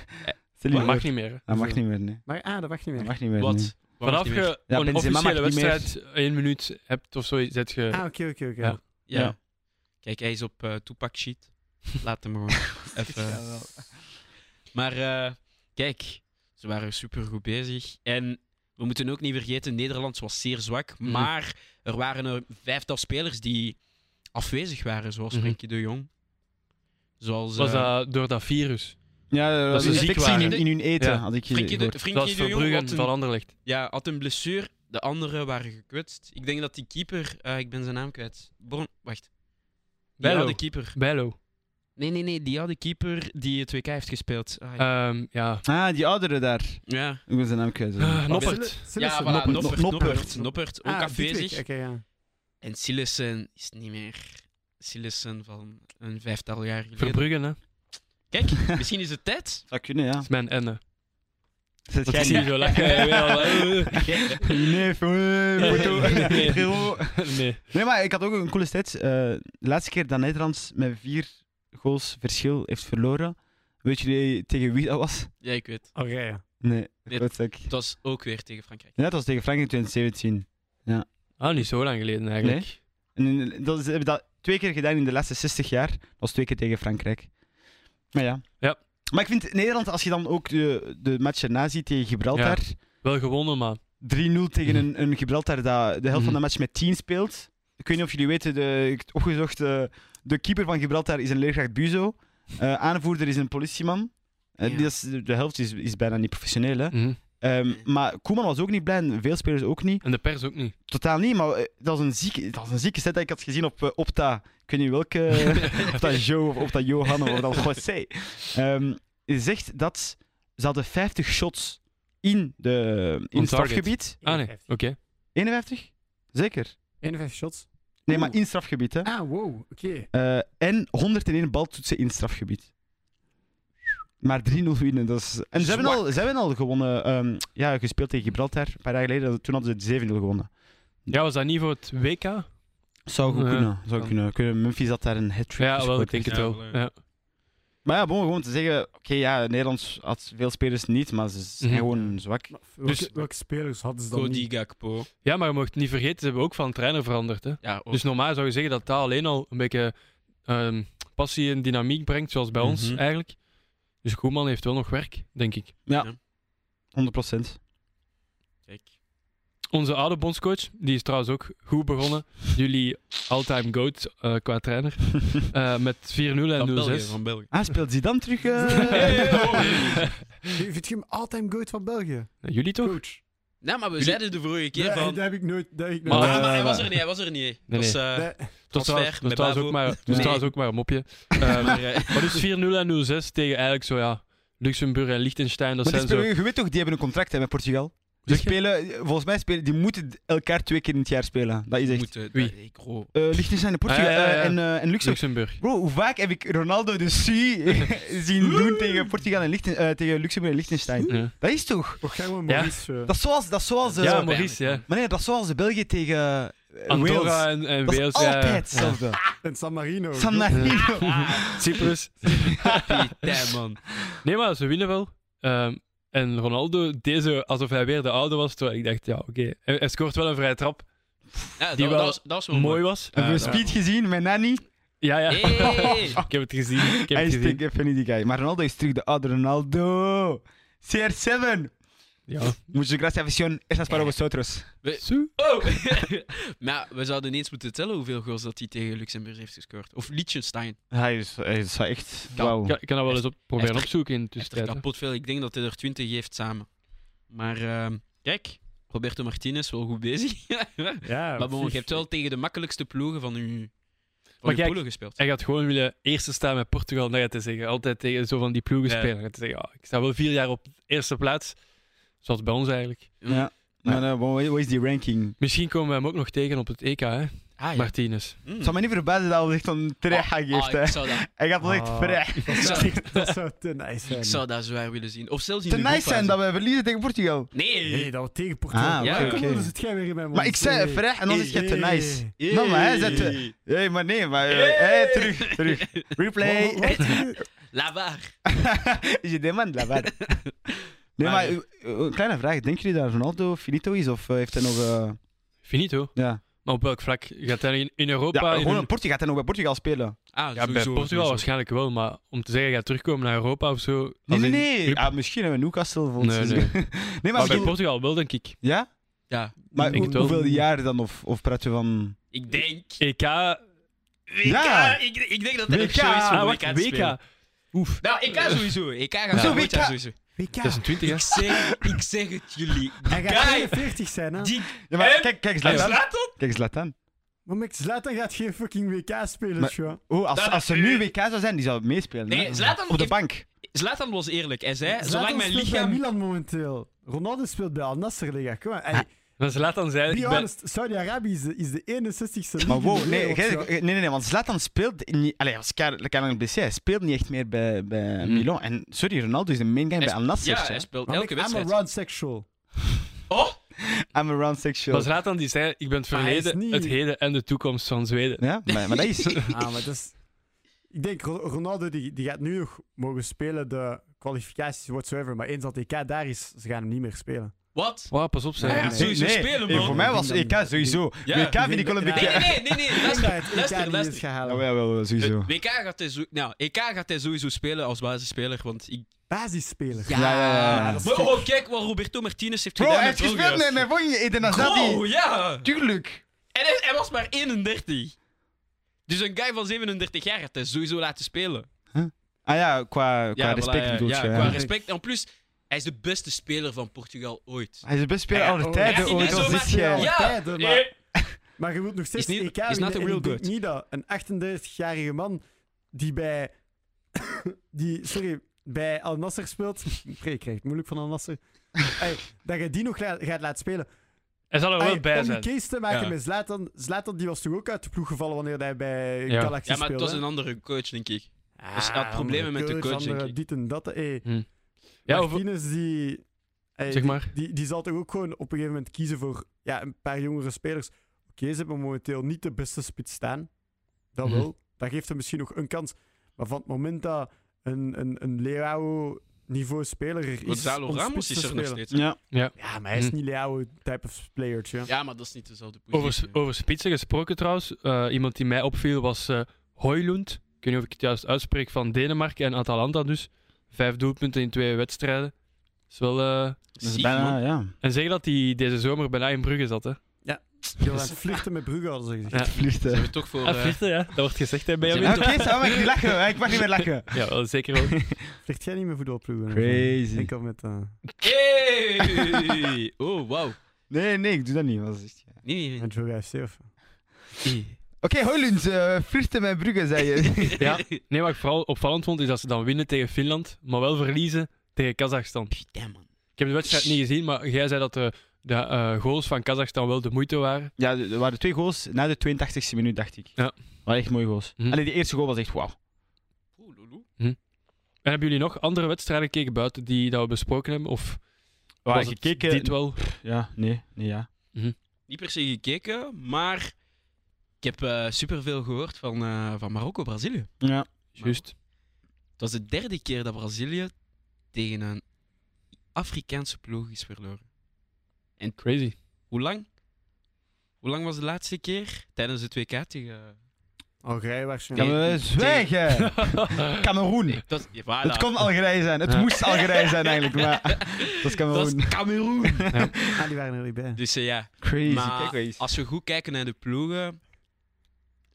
S1: Dat
S3: voor.
S1: mag niet meer. hè.
S3: Dat mag niet meer, nee.
S2: Maar ah, dat wacht niet
S3: Dat
S2: meer.
S3: mag niet meer, nee.
S4: Wat? Wat
S1: Vanaf
S4: mag niet meer?
S1: je
S3: Ja,
S1: een
S3: Benzema
S1: officiële
S3: mag niet meer.
S1: wedstrijd één minuut hebt of zo, zet je...
S2: Ah, oké, oké, oké.
S1: Ja.
S4: Ja.
S3: Ja.
S4: Kijk, hij is op eh Tupac sheet. Laat hem gewoon even... Maar eh, kijk, ze waren super goed bezig. En We moeten ook niet vergeten, Nederland was zeer zwak.
S1: Mhm.
S4: Maar er waren er vijftal spelers die afwezig waren, zoals
S1: Mhm.
S4: Frenkie de Jong. Zoals
S1: Was
S4: eh,
S1: dat door dat virus?
S3: Ja, dat
S1: ze
S3: is
S1: ziek
S3: infectie in, hun-
S4: waren.
S3: in hun eten,
S1: Ja.
S3: had ik
S4: Frenkie de,
S3: gehoord.
S1: Dat
S4: Frenkie
S1: is
S4: de Jong
S1: Verbrugge
S4: had
S1: van
S4: een,
S1: Anderlecht.
S4: ja, had een blessure. De anderen waren gekwetst. Ik denk dat die keeper... eh, ik ben zijn naam kwijt. Born, wacht. Die
S1: Bijlo.
S4: had de keeper.
S1: Bijlo.
S4: Nee, nee, nee. Die had de keeper die het WK heeft gespeeld. Ah,
S1: Ehm, ja.
S3: Ah, die oudere daar.
S4: ja.
S3: Ik ben zijn naam kwijt.
S1: Ah, Noppert.
S2: Sille-
S4: Ja,
S2: Sillessen.
S4: voilà, Noppert, Noppert,
S3: Noppert.
S4: Noppert, ook
S2: Ah, dit
S4: afwezig.
S2: week. Oké, ja.
S4: En Sillessen is niet meer Sillessen van een vijftal jaar geleden.
S1: Verbruggen, hè. Dat
S4: Kijk, misschien is het tijd.
S3: Zou kunnen, ja.
S1: is mijn enne.
S3: Zet
S1: Dat
S3: jij
S1: ik zie
S3: niet.
S1: zo lachen. Ja, wel, eh.
S3: Nee, foto.
S1: Nee.
S3: Frérot.
S1: Nee.
S3: Nee, maar ik had ook een coole stats. Eh, de laatste keer dat Nederland met vier goals verschil heeft verloren, weet jullie tegen wie dat was?
S4: Ja, ik weet.
S2: Oké, ja.
S3: Nee,
S4: Nee.
S3: grotzak.
S4: Het was ook weer tegen Frankrijk.
S3: Ja, dat was tegen Frankrijk in 2017.
S1: Ah, niet zo lang geleden eigenlijk.
S3: En in- dat is, ze hebben dat twee keer gedaan in de laatste 60 jaar. Dat was twee keer tegen Frankrijk. Maar ja.
S1: Ja.
S3: Maar ik vind Nederland, als je dan ook de, de match erna ziet tegen Gibraltar,
S1: Wel gewonnen, maar...
S3: 3-0 tegen
S4: Mhm.
S3: een, een Gibraltar dat de helft van de match met 10 speelt. Ik weet niet of jullie weten, de, ik heb het opgezocht, eh, de keeper van Gibraltar is een leerkracht Buzo. Eh, aanvoerder is een politieman. Eh,
S4: Ja.
S3: die is- de helft is, is bijna niet professioneel. Hè?
S1: Mhm.
S3: Ehm,
S4: Nee.
S3: maar Koeman was ook niet blij en veel spelers ook niet.
S1: En de pers ook niet.
S3: Totaal niet, maar eh, dat, was een zieke, dat was een zieke set dat ik had gezien op eh, Opta. Ik weet niet welke, of dat Joe of, of dat Johan of dat José. Ehm je zegt dat ze hadden 50 shots in, de, in
S1: On
S3: het
S1: target.
S3: strafgebied.
S1: Ah, nee. Oké.
S3: 51? Zeker.
S2: 51 shots.
S3: Nee,
S2: Oeh.
S3: maar in strafgebied, hè.
S2: Ah, wow. Oké.
S3: Eh, en 101 baltoetsen in strafgebied. Maar 3-0 winnen, dat is... En ze hebben, al, ze hebben al gewonnen, ehm, ja, gespeeld tegen Gibraltar, een paar jaar geleden. Toen hadden ze 7-0 gewonnen.
S1: Ja, was dat niet voor het WK?
S3: Zou goed
S1: Ja,
S3: kunnen, zou
S1: kan.
S3: kunnen. Kunnen- Memphis had daar een hat-trick
S1: Ja, wel,
S3: gescoord.
S1: ik denk het
S4: Ja,
S1: wel.
S4: wel,
S1: Ja.
S3: Maar ja, bon, gewoon te zeggen, oké, ja, Nederland had veel spelers niet, maar ze zijn
S1: Mhm.
S3: gewoon zwak.
S2: Maar welke,
S4: Dus-
S2: welke spelers hadden ze dan
S4: Cody
S2: niet?
S4: Gakpo.
S1: ja, maar je mocht niet vergeten, ze hebben ook van trainer veranderd. Hè?
S4: Ja, ook.
S1: Dus normaal zou je zeggen dat dat alleen al een beetje ehm, passie en dynamiek brengt, zoals bij ons
S4: Mhm.
S1: eigenlijk. Dus Koeman heeft wel nog werk, denk ik.
S3: 100%.
S4: Kijk.
S1: Onze oude bondscoach, die is trouwens ook goed begonnen. Jullie all-time goat eh, qua trainer. Eh, met 4-0
S4: Van
S1: en
S4: België,
S1: 0-6.
S4: van België.
S3: Ah, speelt hij dan terug? eh?
S2: Vind je hem all-time goat van België?
S1: Nou, Jullie toch?
S2: Coach.
S4: Nou, maar we
S1: Jullie-
S4: zeiden de vorige keer
S2: Nee,
S4: van...
S2: dat heb ik nooit... Dat heb ik
S1: Maar-
S2: nooit.
S4: Ah, maar hij
S3: Eh,
S4: was er niet, hij was er niet.
S1: Nee,
S4: Dat was, eh,
S2: Dat-
S1: Dat is
S4: Transfer
S1: trouwens- dat is
S4: met
S1: trouwens
S4: Bavo.
S1: ook maar- dat is
S4: Nee.
S1: trouwens ook maar een mopje. Ehm,
S4: maar, eh,
S1: Maar dus 4-0 en 0-6 tegen eigenlijk zo ja, Luxemburg en Liechtenstein, dat
S3: Maar
S1: zijn
S3: die
S1: zo...
S3: spelen- je weet toch, die hebben een contract hè, met Portugal. Die
S1: Zeg je?
S3: spelen, volgens mij spelen, die moeten elkaar twee keer in het jaar spelen. Dat is echt.
S4: moeten-
S1: Wie?
S4: dat- ik hoop.
S3: Eh, Liechtenstein en Portugal
S1: Ah, ja, ja, ja.
S3: eh, en, eh, en Luxemburg.
S1: Luxemburg.
S3: Bro, hoe vaak heb ik Ronaldo de Sie zien doen tegen Portugal en Lichten, eh, tegen Luxemburg en Liechtenstein?
S1: Ja,
S3: Dat is toch?
S2: Och, gaan we
S1: Ja.
S2: Maurice... eh,
S3: Dat is zoals, dat is zoals, eh,
S1: ja
S4: pijnlijk,
S1: Maurice, ja.
S3: maar nee, dat is zoals de België tegen eh,
S1: Andorra
S3: Wales.
S1: en, en
S3: Dat is
S1: Wales. ja, ja.
S3: altijd hetzelfde.
S2: En San Marino. dus-
S3: San Marino.
S1: Ja. Cyprus.
S4: Tijn, Ah, man.
S1: Nee, maar ze winnen wel. Ehm, en Ronaldo, deze alsof hij weer de oude was. Terwijl ik dacht, ja, oké. Hij, hij scoort wel een vrije trap.
S4: Ja, dat,
S1: Die
S4: dat
S1: wel
S4: was, dat was wel
S1: Mooi was. Eh,
S3: Hebben we
S4: Ja,
S3: Speed gezien met Nani?
S1: Ja, ja.
S4: Hey.
S1: ik heb het gezien. Ik heb
S3: Hij
S1: het
S3: is
S1: gezien.
S3: tegen even niet die guy. Maar Ronaldo is terug de oude Ronaldo. CR7.
S1: Ja.
S3: Muchas gracias, afición. Esas para vosotros.
S1: Zo.
S4: Oh! maar we zouden ineens moeten tellen hoeveel goals dat hij tegen Luxemburg heeft gescoord. Of Liechtenstein.
S3: Hij is, hij is echt.
S4: Kan-
S3: Wauw.
S1: Ik kan, ik kan dat wel eens op, proberen
S4: Echt-
S1: opzoeken in de
S4: Hij heeft er
S1: tussentijd. hè.
S4: kapot veel. Ik denk dat hij er 20 heeft samen. Maar ehm, kijk, Roberto Martinez wel goed bezig.
S2: Ja,
S4: maar bon,
S2: precies.
S4: je hebt wel tegen de makkelijkste ploegen van uw,
S1: Maar
S4: van uw
S1: kijk,
S4: ploegen gespeeld.
S1: Hij gaat gewoon willen eerste staan met Portugal. Dat gaat hij zeggen. Altijd tegen zo van die ploegen
S4: Ja.
S1: spelen. Hij gaat zeggen, ja, ik sta wel vier jaar op de eerste plaats. Zoals bij ons eigenlijk.
S3: Ja. Maar eh, wat wat is die ranking?
S1: Misschien komen we hem ook nog tegen op het EK, hè?
S4: Ah, ja.
S1: Martinez.
S4: Mm.
S3: Het zou me niet verbazen dat hij echt een trecha
S4: Ah,
S3: geeft. hè.
S4: ik, zou dat,
S3: Hij gaat wel echt
S2: Ah.
S3: vrij.
S2: Dat zou, dat zou te nice zijn.
S4: ik zou dat zwaar willen zien. Of zelfs in
S3: Te
S4: de
S3: nice
S4: groepfase.
S3: zijn dat we verliezen tegen Portugal.
S4: Nee!
S2: Nee, dat we tegen Portugal.
S3: Ah,
S4: oké,
S2: ja, kom,
S3: oké.
S2: dan zit jij weer in mijn mond.
S3: Maar ik zei
S2: Nee.
S3: vrij en dan is het te
S2: Nee.
S3: nice. Nou, maar hij zet- Hé, maar nee, maar. eh,
S4: Hey.
S3: hey, terug, terug. Replay.
S2: Wat- wat- wat-
S4: Lavar.
S3: Je demand la uh, waar. Nee,
S4: Maar-
S3: maar eh, eh, een kleine vraag. Denken jullie dat Ronaldo finito is? Of eh, heeft hij nog. eh,
S1: Finito.
S3: ja.
S1: Maar op welk vlak? Gaat hij in- in Europa?
S3: Ja,
S1: in
S3: gewoon
S1: een-
S3: in Portugal. Gaat hij nog bij Portugal spelen?
S4: Ah,
S1: ja, bij
S4: sowieso,
S1: Portugal
S4: sowieso.
S1: waarschijnlijk wel, maar om te zeggen, hij gaat terugkomen naar Europa of zo.
S3: Nee,
S1: als
S3: nee,
S1: in
S3: nee.
S1: club-
S3: Ah, misschien hebben we Newcastle volgens
S1: Nee,
S3: seizoen. nee, maar,
S1: maar bij
S3: misschien-
S1: Portugal wel, denk ik.
S3: Ja?
S4: Ja,
S3: Maar
S1: denk
S3: hoe,
S1: het wel.
S3: hoeveel jaar dan? Of, of praat je van...
S4: ik denk...
S1: EK. Ah,
S4: WK,
S3: Ja.
S4: ik, ik denk dat hij
S3: WK.
S4: nog sowieso
S3: Ah,
S4: ah,
S1: wacht,
S4: WK, te spelen.
S1: WK. Oef.
S4: Nou, EK sowieso. EK gaat
S1: Ja.
S4: ja.
S3: WK.
S4: sowieso.
S2: WK.
S1: Dat is een 20, hè?
S4: Ik zeg, ik zeg het jullie.
S2: Hij
S4: Die
S2: gaat
S4: guy,
S2: 41 zijn, hè?
S4: die
S3: Ja, maar
S4: En-
S3: kijk, kijk
S1: Ah, ja.
S3: Zlatan. Kijk Zlatan.
S2: Maar Max Zlatan gaat geen fucking WK spelen,
S3: Maar-
S2: tjoh.
S3: Oh, als,
S4: Dat-
S3: als ze nu WK zou zijn, die zou meespelen.
S4: Nee,
S3: hè?
S4: Zlatan
S3: Op de
S4: heeft-
S3: bank.
S4: Zlatan was eerlijk. Hij zei,
S2: Zlatan
S4: zolang mijn
S2: speelt
S4: lichaam...
S2: bij Milan momenteel. Ronaldo speelt bij Al Nassr, Liga. Kom maar. Ey,
S1: Maar Zlatan zei...
S2: be
S1: ik ben-
S2: honest, Saudi-Arabië is de, is de 61ste
S3: Maar
S2: league in
S3: wow,
S2: de
S3: nee,
S2: wereld,
S3: jij-
S2: tjoh.
S3: nee, nee, nee, want Zlatan speelt niet... Allee, als Karel Karel blessé, hij speelt niet echt meer bij, bij
S1: Mm.
S3: Milan. En sorry, Ronaldo is de main guy bij Al Nassr.
S4: Ja,
S3: hè.
S4: Hmm. hij speelt
S2: Maar
S4: elke
S2: Max, I'm
S4: wedstrijd.
S2: a round sexual.
S4: Oh!
S3: I'm around
S1: Maar
S3: sexual.
S1: Zlatan die zei, ik ben het
S2: Maar hij is
S1: verleden,
S2: niet-
S1: het heden en de toekomst van Zweden.
S3: Ja, maar, maar dat is...
S2: Ah, maar dat is... Ik denk, Ro- Ronaldo die, die gaat nu nog mogen spelen, de kwalificaties, whatsoever. Maar eens dat EK daar is, ze gaan hem niet meer spelen.
S4: Wat?
S1: Wow, pas op,
S4: Ja, ja,
S1: zei hij.
S4: zo- sowieso spelen,
S3: Nee,
S4: man.
S3: voor mij was
S2: Ik denk
S3: EK
S2: dat-
S3: sowieso.
S4: Ja.
S3: WK vind ik wel een
S2: Ik denk-
S3: beetje...
S4: Nee, nee, nee, nee, nee.
S2: Ik denk dat
S4: Luister,
S2: het EK
S4: luister,
S2: niet is
S4: luister.
S2: gaan
S3: Ja,
S2: halen.
S3: wel, wel, wel, sowieso.
S4: Het WK gaat hij, zo, nou, EK gaat hij sowieso spelen als basisspeler, want ik...
S2: Basisspeler.
S3: Ja, ja, ja, ja.
S2: dat is
S4: Maar,
S2: gek.
S4: oh, kijk wat Roberto Martinez heeft
S3: Bro,
S4: gedaan
S3: hij
S4: met
S3: heeft gespeeld
S4: Bulgaria.
S3: met mijn vondje Eden
S4: Wow,
S3: Hazadi.
S4: ja! En
S3: Tuurlijk.
S4: hij, hij was maar 31. Dus een guy van 37 jaar gaat hij sowieso laten spelen.
S3: Ah ja, qua, qua
S4: ja, voilà,
S3: respect
S4: ja,
S3: bedoel
S4: ja,
S3: je.
S4: qua
S3: ja.
S4: respect. En plus, hij is de beste speler van Portugal ooit.
S3: Hij is de beste speler
S4: Ja,
S3: aller
S2: oh,
S3: tijden
S4: ja,
S3: ooit,
S4: ja,
S3: al
S4: zomaar-
S3: zit jij.
S4: Ja.
S2: Tijden, maar- Maar je wilt nog steeds
S4: Is niet-
S2: EK
S4: is
S2: winnen.
S4: not a
S2: en
S4: real
S2: ik denk
S4: good.
S2: niet dat een 38-jarige man die bij... die, sorry, bij Al Nasser speelt... Pre, ik krijg het moeilijk van Al Nasser. Ey, dat je die nog la- gaat laten spelen.
S1: Hij zal er wel
S2: Ey,
S1: bij
S2: om die
S1: zijn.
S2: case te maken
S4: Oh, Ja.
S2: met Zlatan. Zlatan die was toch ook uit de ploeg gevallen wanneer hij bij
S1: Ja.
S2: Galaxy
S4: Ja, maar het
S2: speelde.
S4: was een andere coach, denk ik.
S2: Ah,
S4: dus hij had problemen
S2: andere
S4: met de coach,
S2: andere
S4: denk ik.
S2: Dit en dat. Ey,
S1: Ja, over-
S2: Martinez die... ey,
S1: zeg
S2: die-
S1: maar.
S2: die, die zal toch ook gewoon op een gegeven moment kiezen voor ja, een paar jongere spelers. Oké, ze hebben momenteel niet de beste spits staan. Dat
S1: Mhm.
S2: wel. Dat geeft hem misschien nog een kans. Maar van het moment dat een, een, een Leao niveau speler er is.
S4: Gonzalo
S2: om
S4: Ramos
S2: spits
S4: is
S2: te
S4: er nog
S2: spelen-
S4: steeds.
S3: Ja.
S2: Ja, maar hij is
S1: Mhm.
S2: niet Leao type of playertje.
S4: Ja, maar dat is niet dezelfde positie.
S1: Over, over spitsen gesproken trouwens. eh, iemand die mij opviel was eh Hoylund. Ik weet niet of ik het juist uitspreek van Denemarken en Atalanta dus. Vijf doelpunten in twee wedstrijden. Is wel, eh,
S3: Dat is
S4: Ziek,
S3: bijna,
S4: man.
S3: ja.
S1: En zeggen dat hij deze zomer bijna in Brugge zat. Hè?
S2: Die was aan het flirten met Brugge hadden ze gezegd.
S1: Ja.
S3: Vluchten.
S4: Zijn we toch voor...
S1: Ah,
S4: eh,
S1: flirten, ja. Dat wordt gezegd hè, bij
S4: Ja,
S1: jou.
S3: Ja,
S1: Winter.
S3: Oké, Sam, ik mag niet lachen. hè. Ik mag niet meer lachen.
S1: Ja, wel, zeker wel.
S2: Flirt jij niet met voetbalploegen?
S3: Crazy.
S2: Enkel met. eh,
S4: Hey! Oh, wauw.
S3: Nee, nee, ik doe dat niet. was echt- ja.
S4: Nee, nee, nee.
S2: met Joga FC of.
S3: Oké, Hoylund, eh, flirten met Brugge, zei je.
S1: Ja. Nee, wat ik vooral opvallend vond is dat ze dan winnen tegen Finland, maar wel verliezen tegen Kazachstan.
S4: Damn, man.
S1: Ik heb de wedstrijd niet gezien, maar jij zei dat de, de eh, goals van Kazachstan wel de moeite waren.
S3: ja, er waren twee goals na de 82e minuut, dacht ik.
S1: Ja.
S3: Waren echt mooie goals.
S1: Mhm.
S3: Allee, die eerste goal was echt wauw.
S4: Oeh, lulu.
S1: En hebben jullie nog andere wedstrijden gekeken buiten die dat we besproken hebben? Of
S3: Waar
S1: was het
S3: gekeken?
S1: dit wel?
S3: Ja, nee, nee, ja.
S4: Niet per se gekeken, maar ik heb eh, superveel gehoord van, eh, van Marokko-Brazilië.
S3: Ja.
S1: Juist.
S4: Het was de derde keer dat Brazilië tegen een Afrikaanse ploeg is verloren.
S1: Crazy.
S4: Hoe lang? Hoe lang was de laatste keer? Tijdens het WK tegen...
S2: Algerije waarschijnlijk.
S3: Gaan we
S4: Tegen-
S3: zwijgen? Cameroen.
S4: Het was... Ja, voilà.
S3: Het kon Algerije zijn. Het
S1: Ja.
S3: moest Algerije zijn eigenlijk, maar dat is
S4: Dat
S3: Cameroen.
S4: is Cameroen.
S2: Ah, die waren er niet bij.
S4: Dus eh, ja,
S3: Crazy.
S4: Maar
S3: Kijk wel eens.
S4: als we goed kijken naar de ploegen...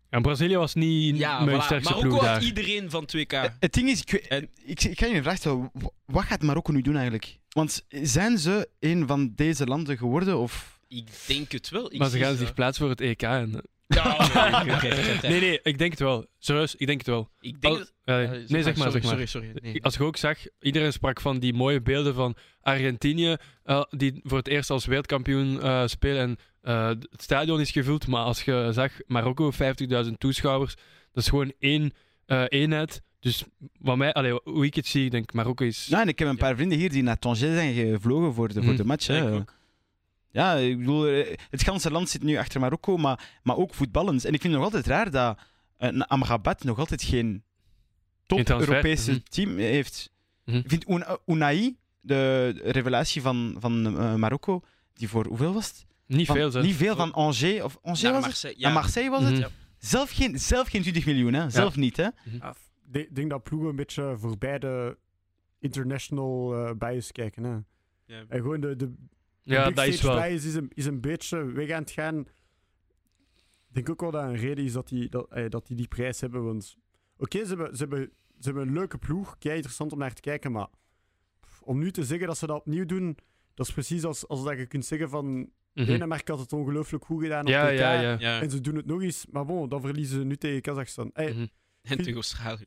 S1: En Brazilië was niet
S4: Ja,
S1: mijn
S4: voilà.
S1: sterkste
S4: Marokko
S1: ploeg
S4: had
S1: daar.
S4: iedereen van 2K.
S3: Eh, Het ding is, ik, weet-
S4: En-
S3: ik, ik ga je een vraag stellen. Wa- Wat gaat Marokko nu doen eigenlijk? Want zijn ze een van deze landen geworden? Of...
S4: Ik denk het wel. Ik
S1: Maar ze
S4: zie
S1: gaan zich plaatsen voor het EK. En...
S4: Ja, oh, nee, oké, oké, oké.
S1: Nee, nee, ik denk het wel. Serieus, ik denk het wel.
S4: Ik denk
S1: Al-
S4: dat...
S1: Eh,
S4: Eh,
S1: nee, zeg maar,
S4: sorry,
S1: zeg maar.
S4: Sorry, sorry. nee.
S1: Als ik ook zag, iedereen sprak van die mooie beelden van Argentinië, eh, die voor het eerst als wereldkampioen eh, spelen. En eh, het stadion is gevuld, maar als je zag, Marokko, 50.000 toeschouwers, dat is gewoon één eh, eenheid. Dus wat mij, allee, hoe ik het zie, ik denk Marokko is...
S3: Nou, en ik heb een
S4: Ja.
S3: paar vrienden hier die naar Tanger zijn gevlogen voor de, voor
S1: Mhm.
S3: de match.
S4: Ja, ik
S3: hè.
S4: ook.
S3: Ja, ik bedoel, eh, het ganse land zit nu achter Marokko, maar, maar ook voetballend. En ik vind het nog altijd raar dat eh, een Amrabat nog altijd geen
S1: Geen transfer.
S3: top-Europese
S1: Mhm.
S3: team heeft.
S1: Mhm.
S3: Ik vind Una- Unai, de revelatie van, van eh, Marokko, die voor hoeveel was het?
S1: Niet
S3: Van-
S1: veel, zeg.
S3: Niet veel van Angers. Of Angers
S4: Naar
S3: was het?
S4: Marseille.
S3: Naar
S4: Ja.
S3: Marseille was het?
S1: Mhm.
S4: Ja.
S3: Zelf, geen, zelf geen 20 miljoen, hè? Zelf niet, hè?
S2: Ja, f- Ik denk dat ploegen een beetje voorbij de international eh, bias kijken. Hè.
S4: Ja.
S2: En gewoon de, de
S1: Ja,
S2: big
S1: dat is
S2: stage
S1: wel.
S2: bias is een, is een beetje weg aan het gaan. Ik denk ook wel dat een reden is dat die dat, eh, dat die, die prijs hebben. Want oké, ze, hebben, ze, hebben, ze hebben een leuke ploeg. Kei interessant om naar te kijken. Maar pff, om nu te zeggen dat ze dat opnieuw doen, dat is precies als, als dat je kunt zeggen van
S1: Mhm.
S2: Denemarken had het ongelooflijk goed gedaan op
S1: Ja,
S2: WK,
S1: ja, ja.
S4: Ja.
S2: En ze doen het nog eens. Maar bon, dan verliezen ze nu tegen Kazachstan. Eh, Hey,
S1: Mhm.
S4: En tegen Australië.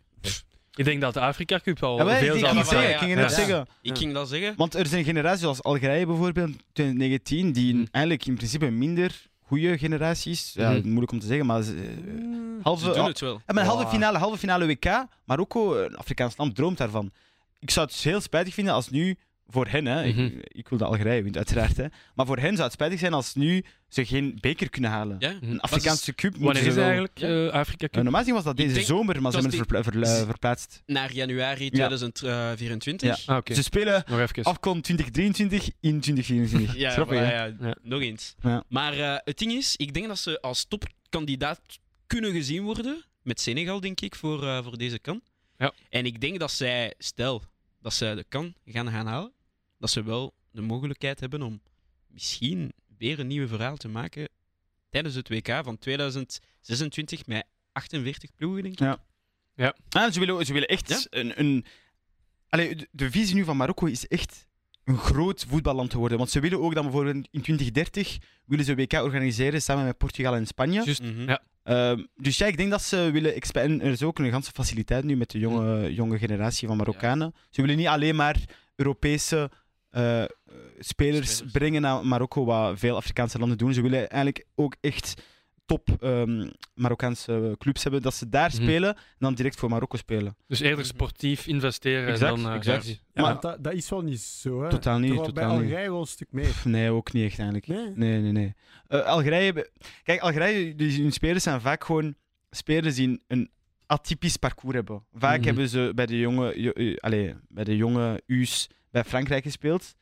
S1: Ik denk dat de Afrika Cup al
S3: Ja, maar
S1: veel
S3: ik
S1: zal
S3: ging,
S4: zelf-
S1: vertellen.
S3: zeggen,
S4: ja,
S3: ik ging
S1: ja.
S3: net
S1: Ja.
S3: zeggen.
S4: Ik ging dat zeggen.
S3: Want er zijn generaties zoals Algerije bijvoorbeeld, 2019, die
S1: Hm.
S3: eigenlijk in principe een minder goede generatie is. Ja,
S1: Mhm.
S3: Moeilijk om te zeggen, maar ze, eh, halve,
S4: Ze
S1: oh.
S4: doen het wel.
S3: Ja, maar halve
S2: Ja.
S3: finale, halve finale WK, Marokko, eh, een Afrikaans land, droomt daarvan. Ik zou het dus heel spijtig vinden als nu, voor hen, hè,
S1: Mhm.
S3: ik, ik wil dat Algerije wint, uiteraard, hè, maar voor hen zou het spijtig zijn als nu ze geen beker kunnen halen.
S4: Ja.
S1: Mhm.
S3: Een Afrikaanse cup moeten
S1: Wanneer
S3: ze
S1: is
S3: wel-
S1: eigenlijk
S4: Ja.
S1: eh, Afrika
S3: Eh,
S1: Cup?
S3: normaal gezien was dat
S4: Ik
S3: deze
S4: denk
S3: zomer, maar ze
S4: dat
S3: hebben het verpla- verla-
S4: Z-
S3: verplaatst.
S4: Naar januari eh, 2024.
S1: Ah, oké.
S3: Ze spelen
S1: Nog even.
S3: afkon 2023 in 2024.
S4: Dus- Ja,
S3: Grappig,
S4: maar
S3: hè?
S4: ja,
S1: Ja.
S4: nog eens.
S3: Ja.
S4: Maar eh, het ding is, ik denk dat ze als topkandidaat kunnen gezien worden. Met Senegal, denk ik, voor, eh, voor deze kan.
S1: Ja.
S4: En ik denk dat zij, stel dat zij de kan gaan gaan halen, dat ze wel de mogelijkheid hebben om misschien weer een nieuw verhaal te maken tijdens het WK van 2026 met 48 ploegen, denk ik.
S3: Ah, ze, willen, ze willen echt
S4: Ja.
S3: een. een Allee, de, de visie nu van Marokko is echt een groot voetballand te worden. Want ze willen ook dan bijvoorbeeld in 2030 willen ze WK organiseren samen met Portugal en Spanje.
S1: Juist.
S4: Mhm.
S1: Ja.
S3: Ehm, dus ja, ik denk dat ze willen expanderen. Er is ook een ganse faciliteit nu met de jonge, jonge generatie van Marokkanen. Ze willen niet alleen maar Europese eh, spelers,
S4: Spelers.
S3: brengen naar Marokko, wat veel Afrikaanse landen doen. Ze willen eigenlijk ook echt top ehm, Marokkaanse clubs hebben, dat ze daar
S1: Mhm.
S3: spelen en dan direct voor Marokko spelen.
S1: Dus eerder sportief investeren
S3: Exact,
S1: dan... eh,
S3: exact.
S1: ja.
S2: Ja,
S3: Maar-
S2: want dat, dat is wel niet zo. Hè.
S3: Totaal niet,
S2: Terwijl
S3: totaal
S2: bij
S3: niet.
S2: Algerije wel een stuk meer.
S3: Pff, nee, ook niet echt eigenlijk.
S2: Nee?
S3: Nee, nee, nee. Eh, Algerije... be- Kijk, Algerije, die, hun spelers zijn vaak gewoon spelers die een atypisch parcours hebben. Vaak
S1: Mhm.
S3: hebben ze bij de jonge, jo- eh, allee, bij de jonge U's bij Frankrijk gespeeld,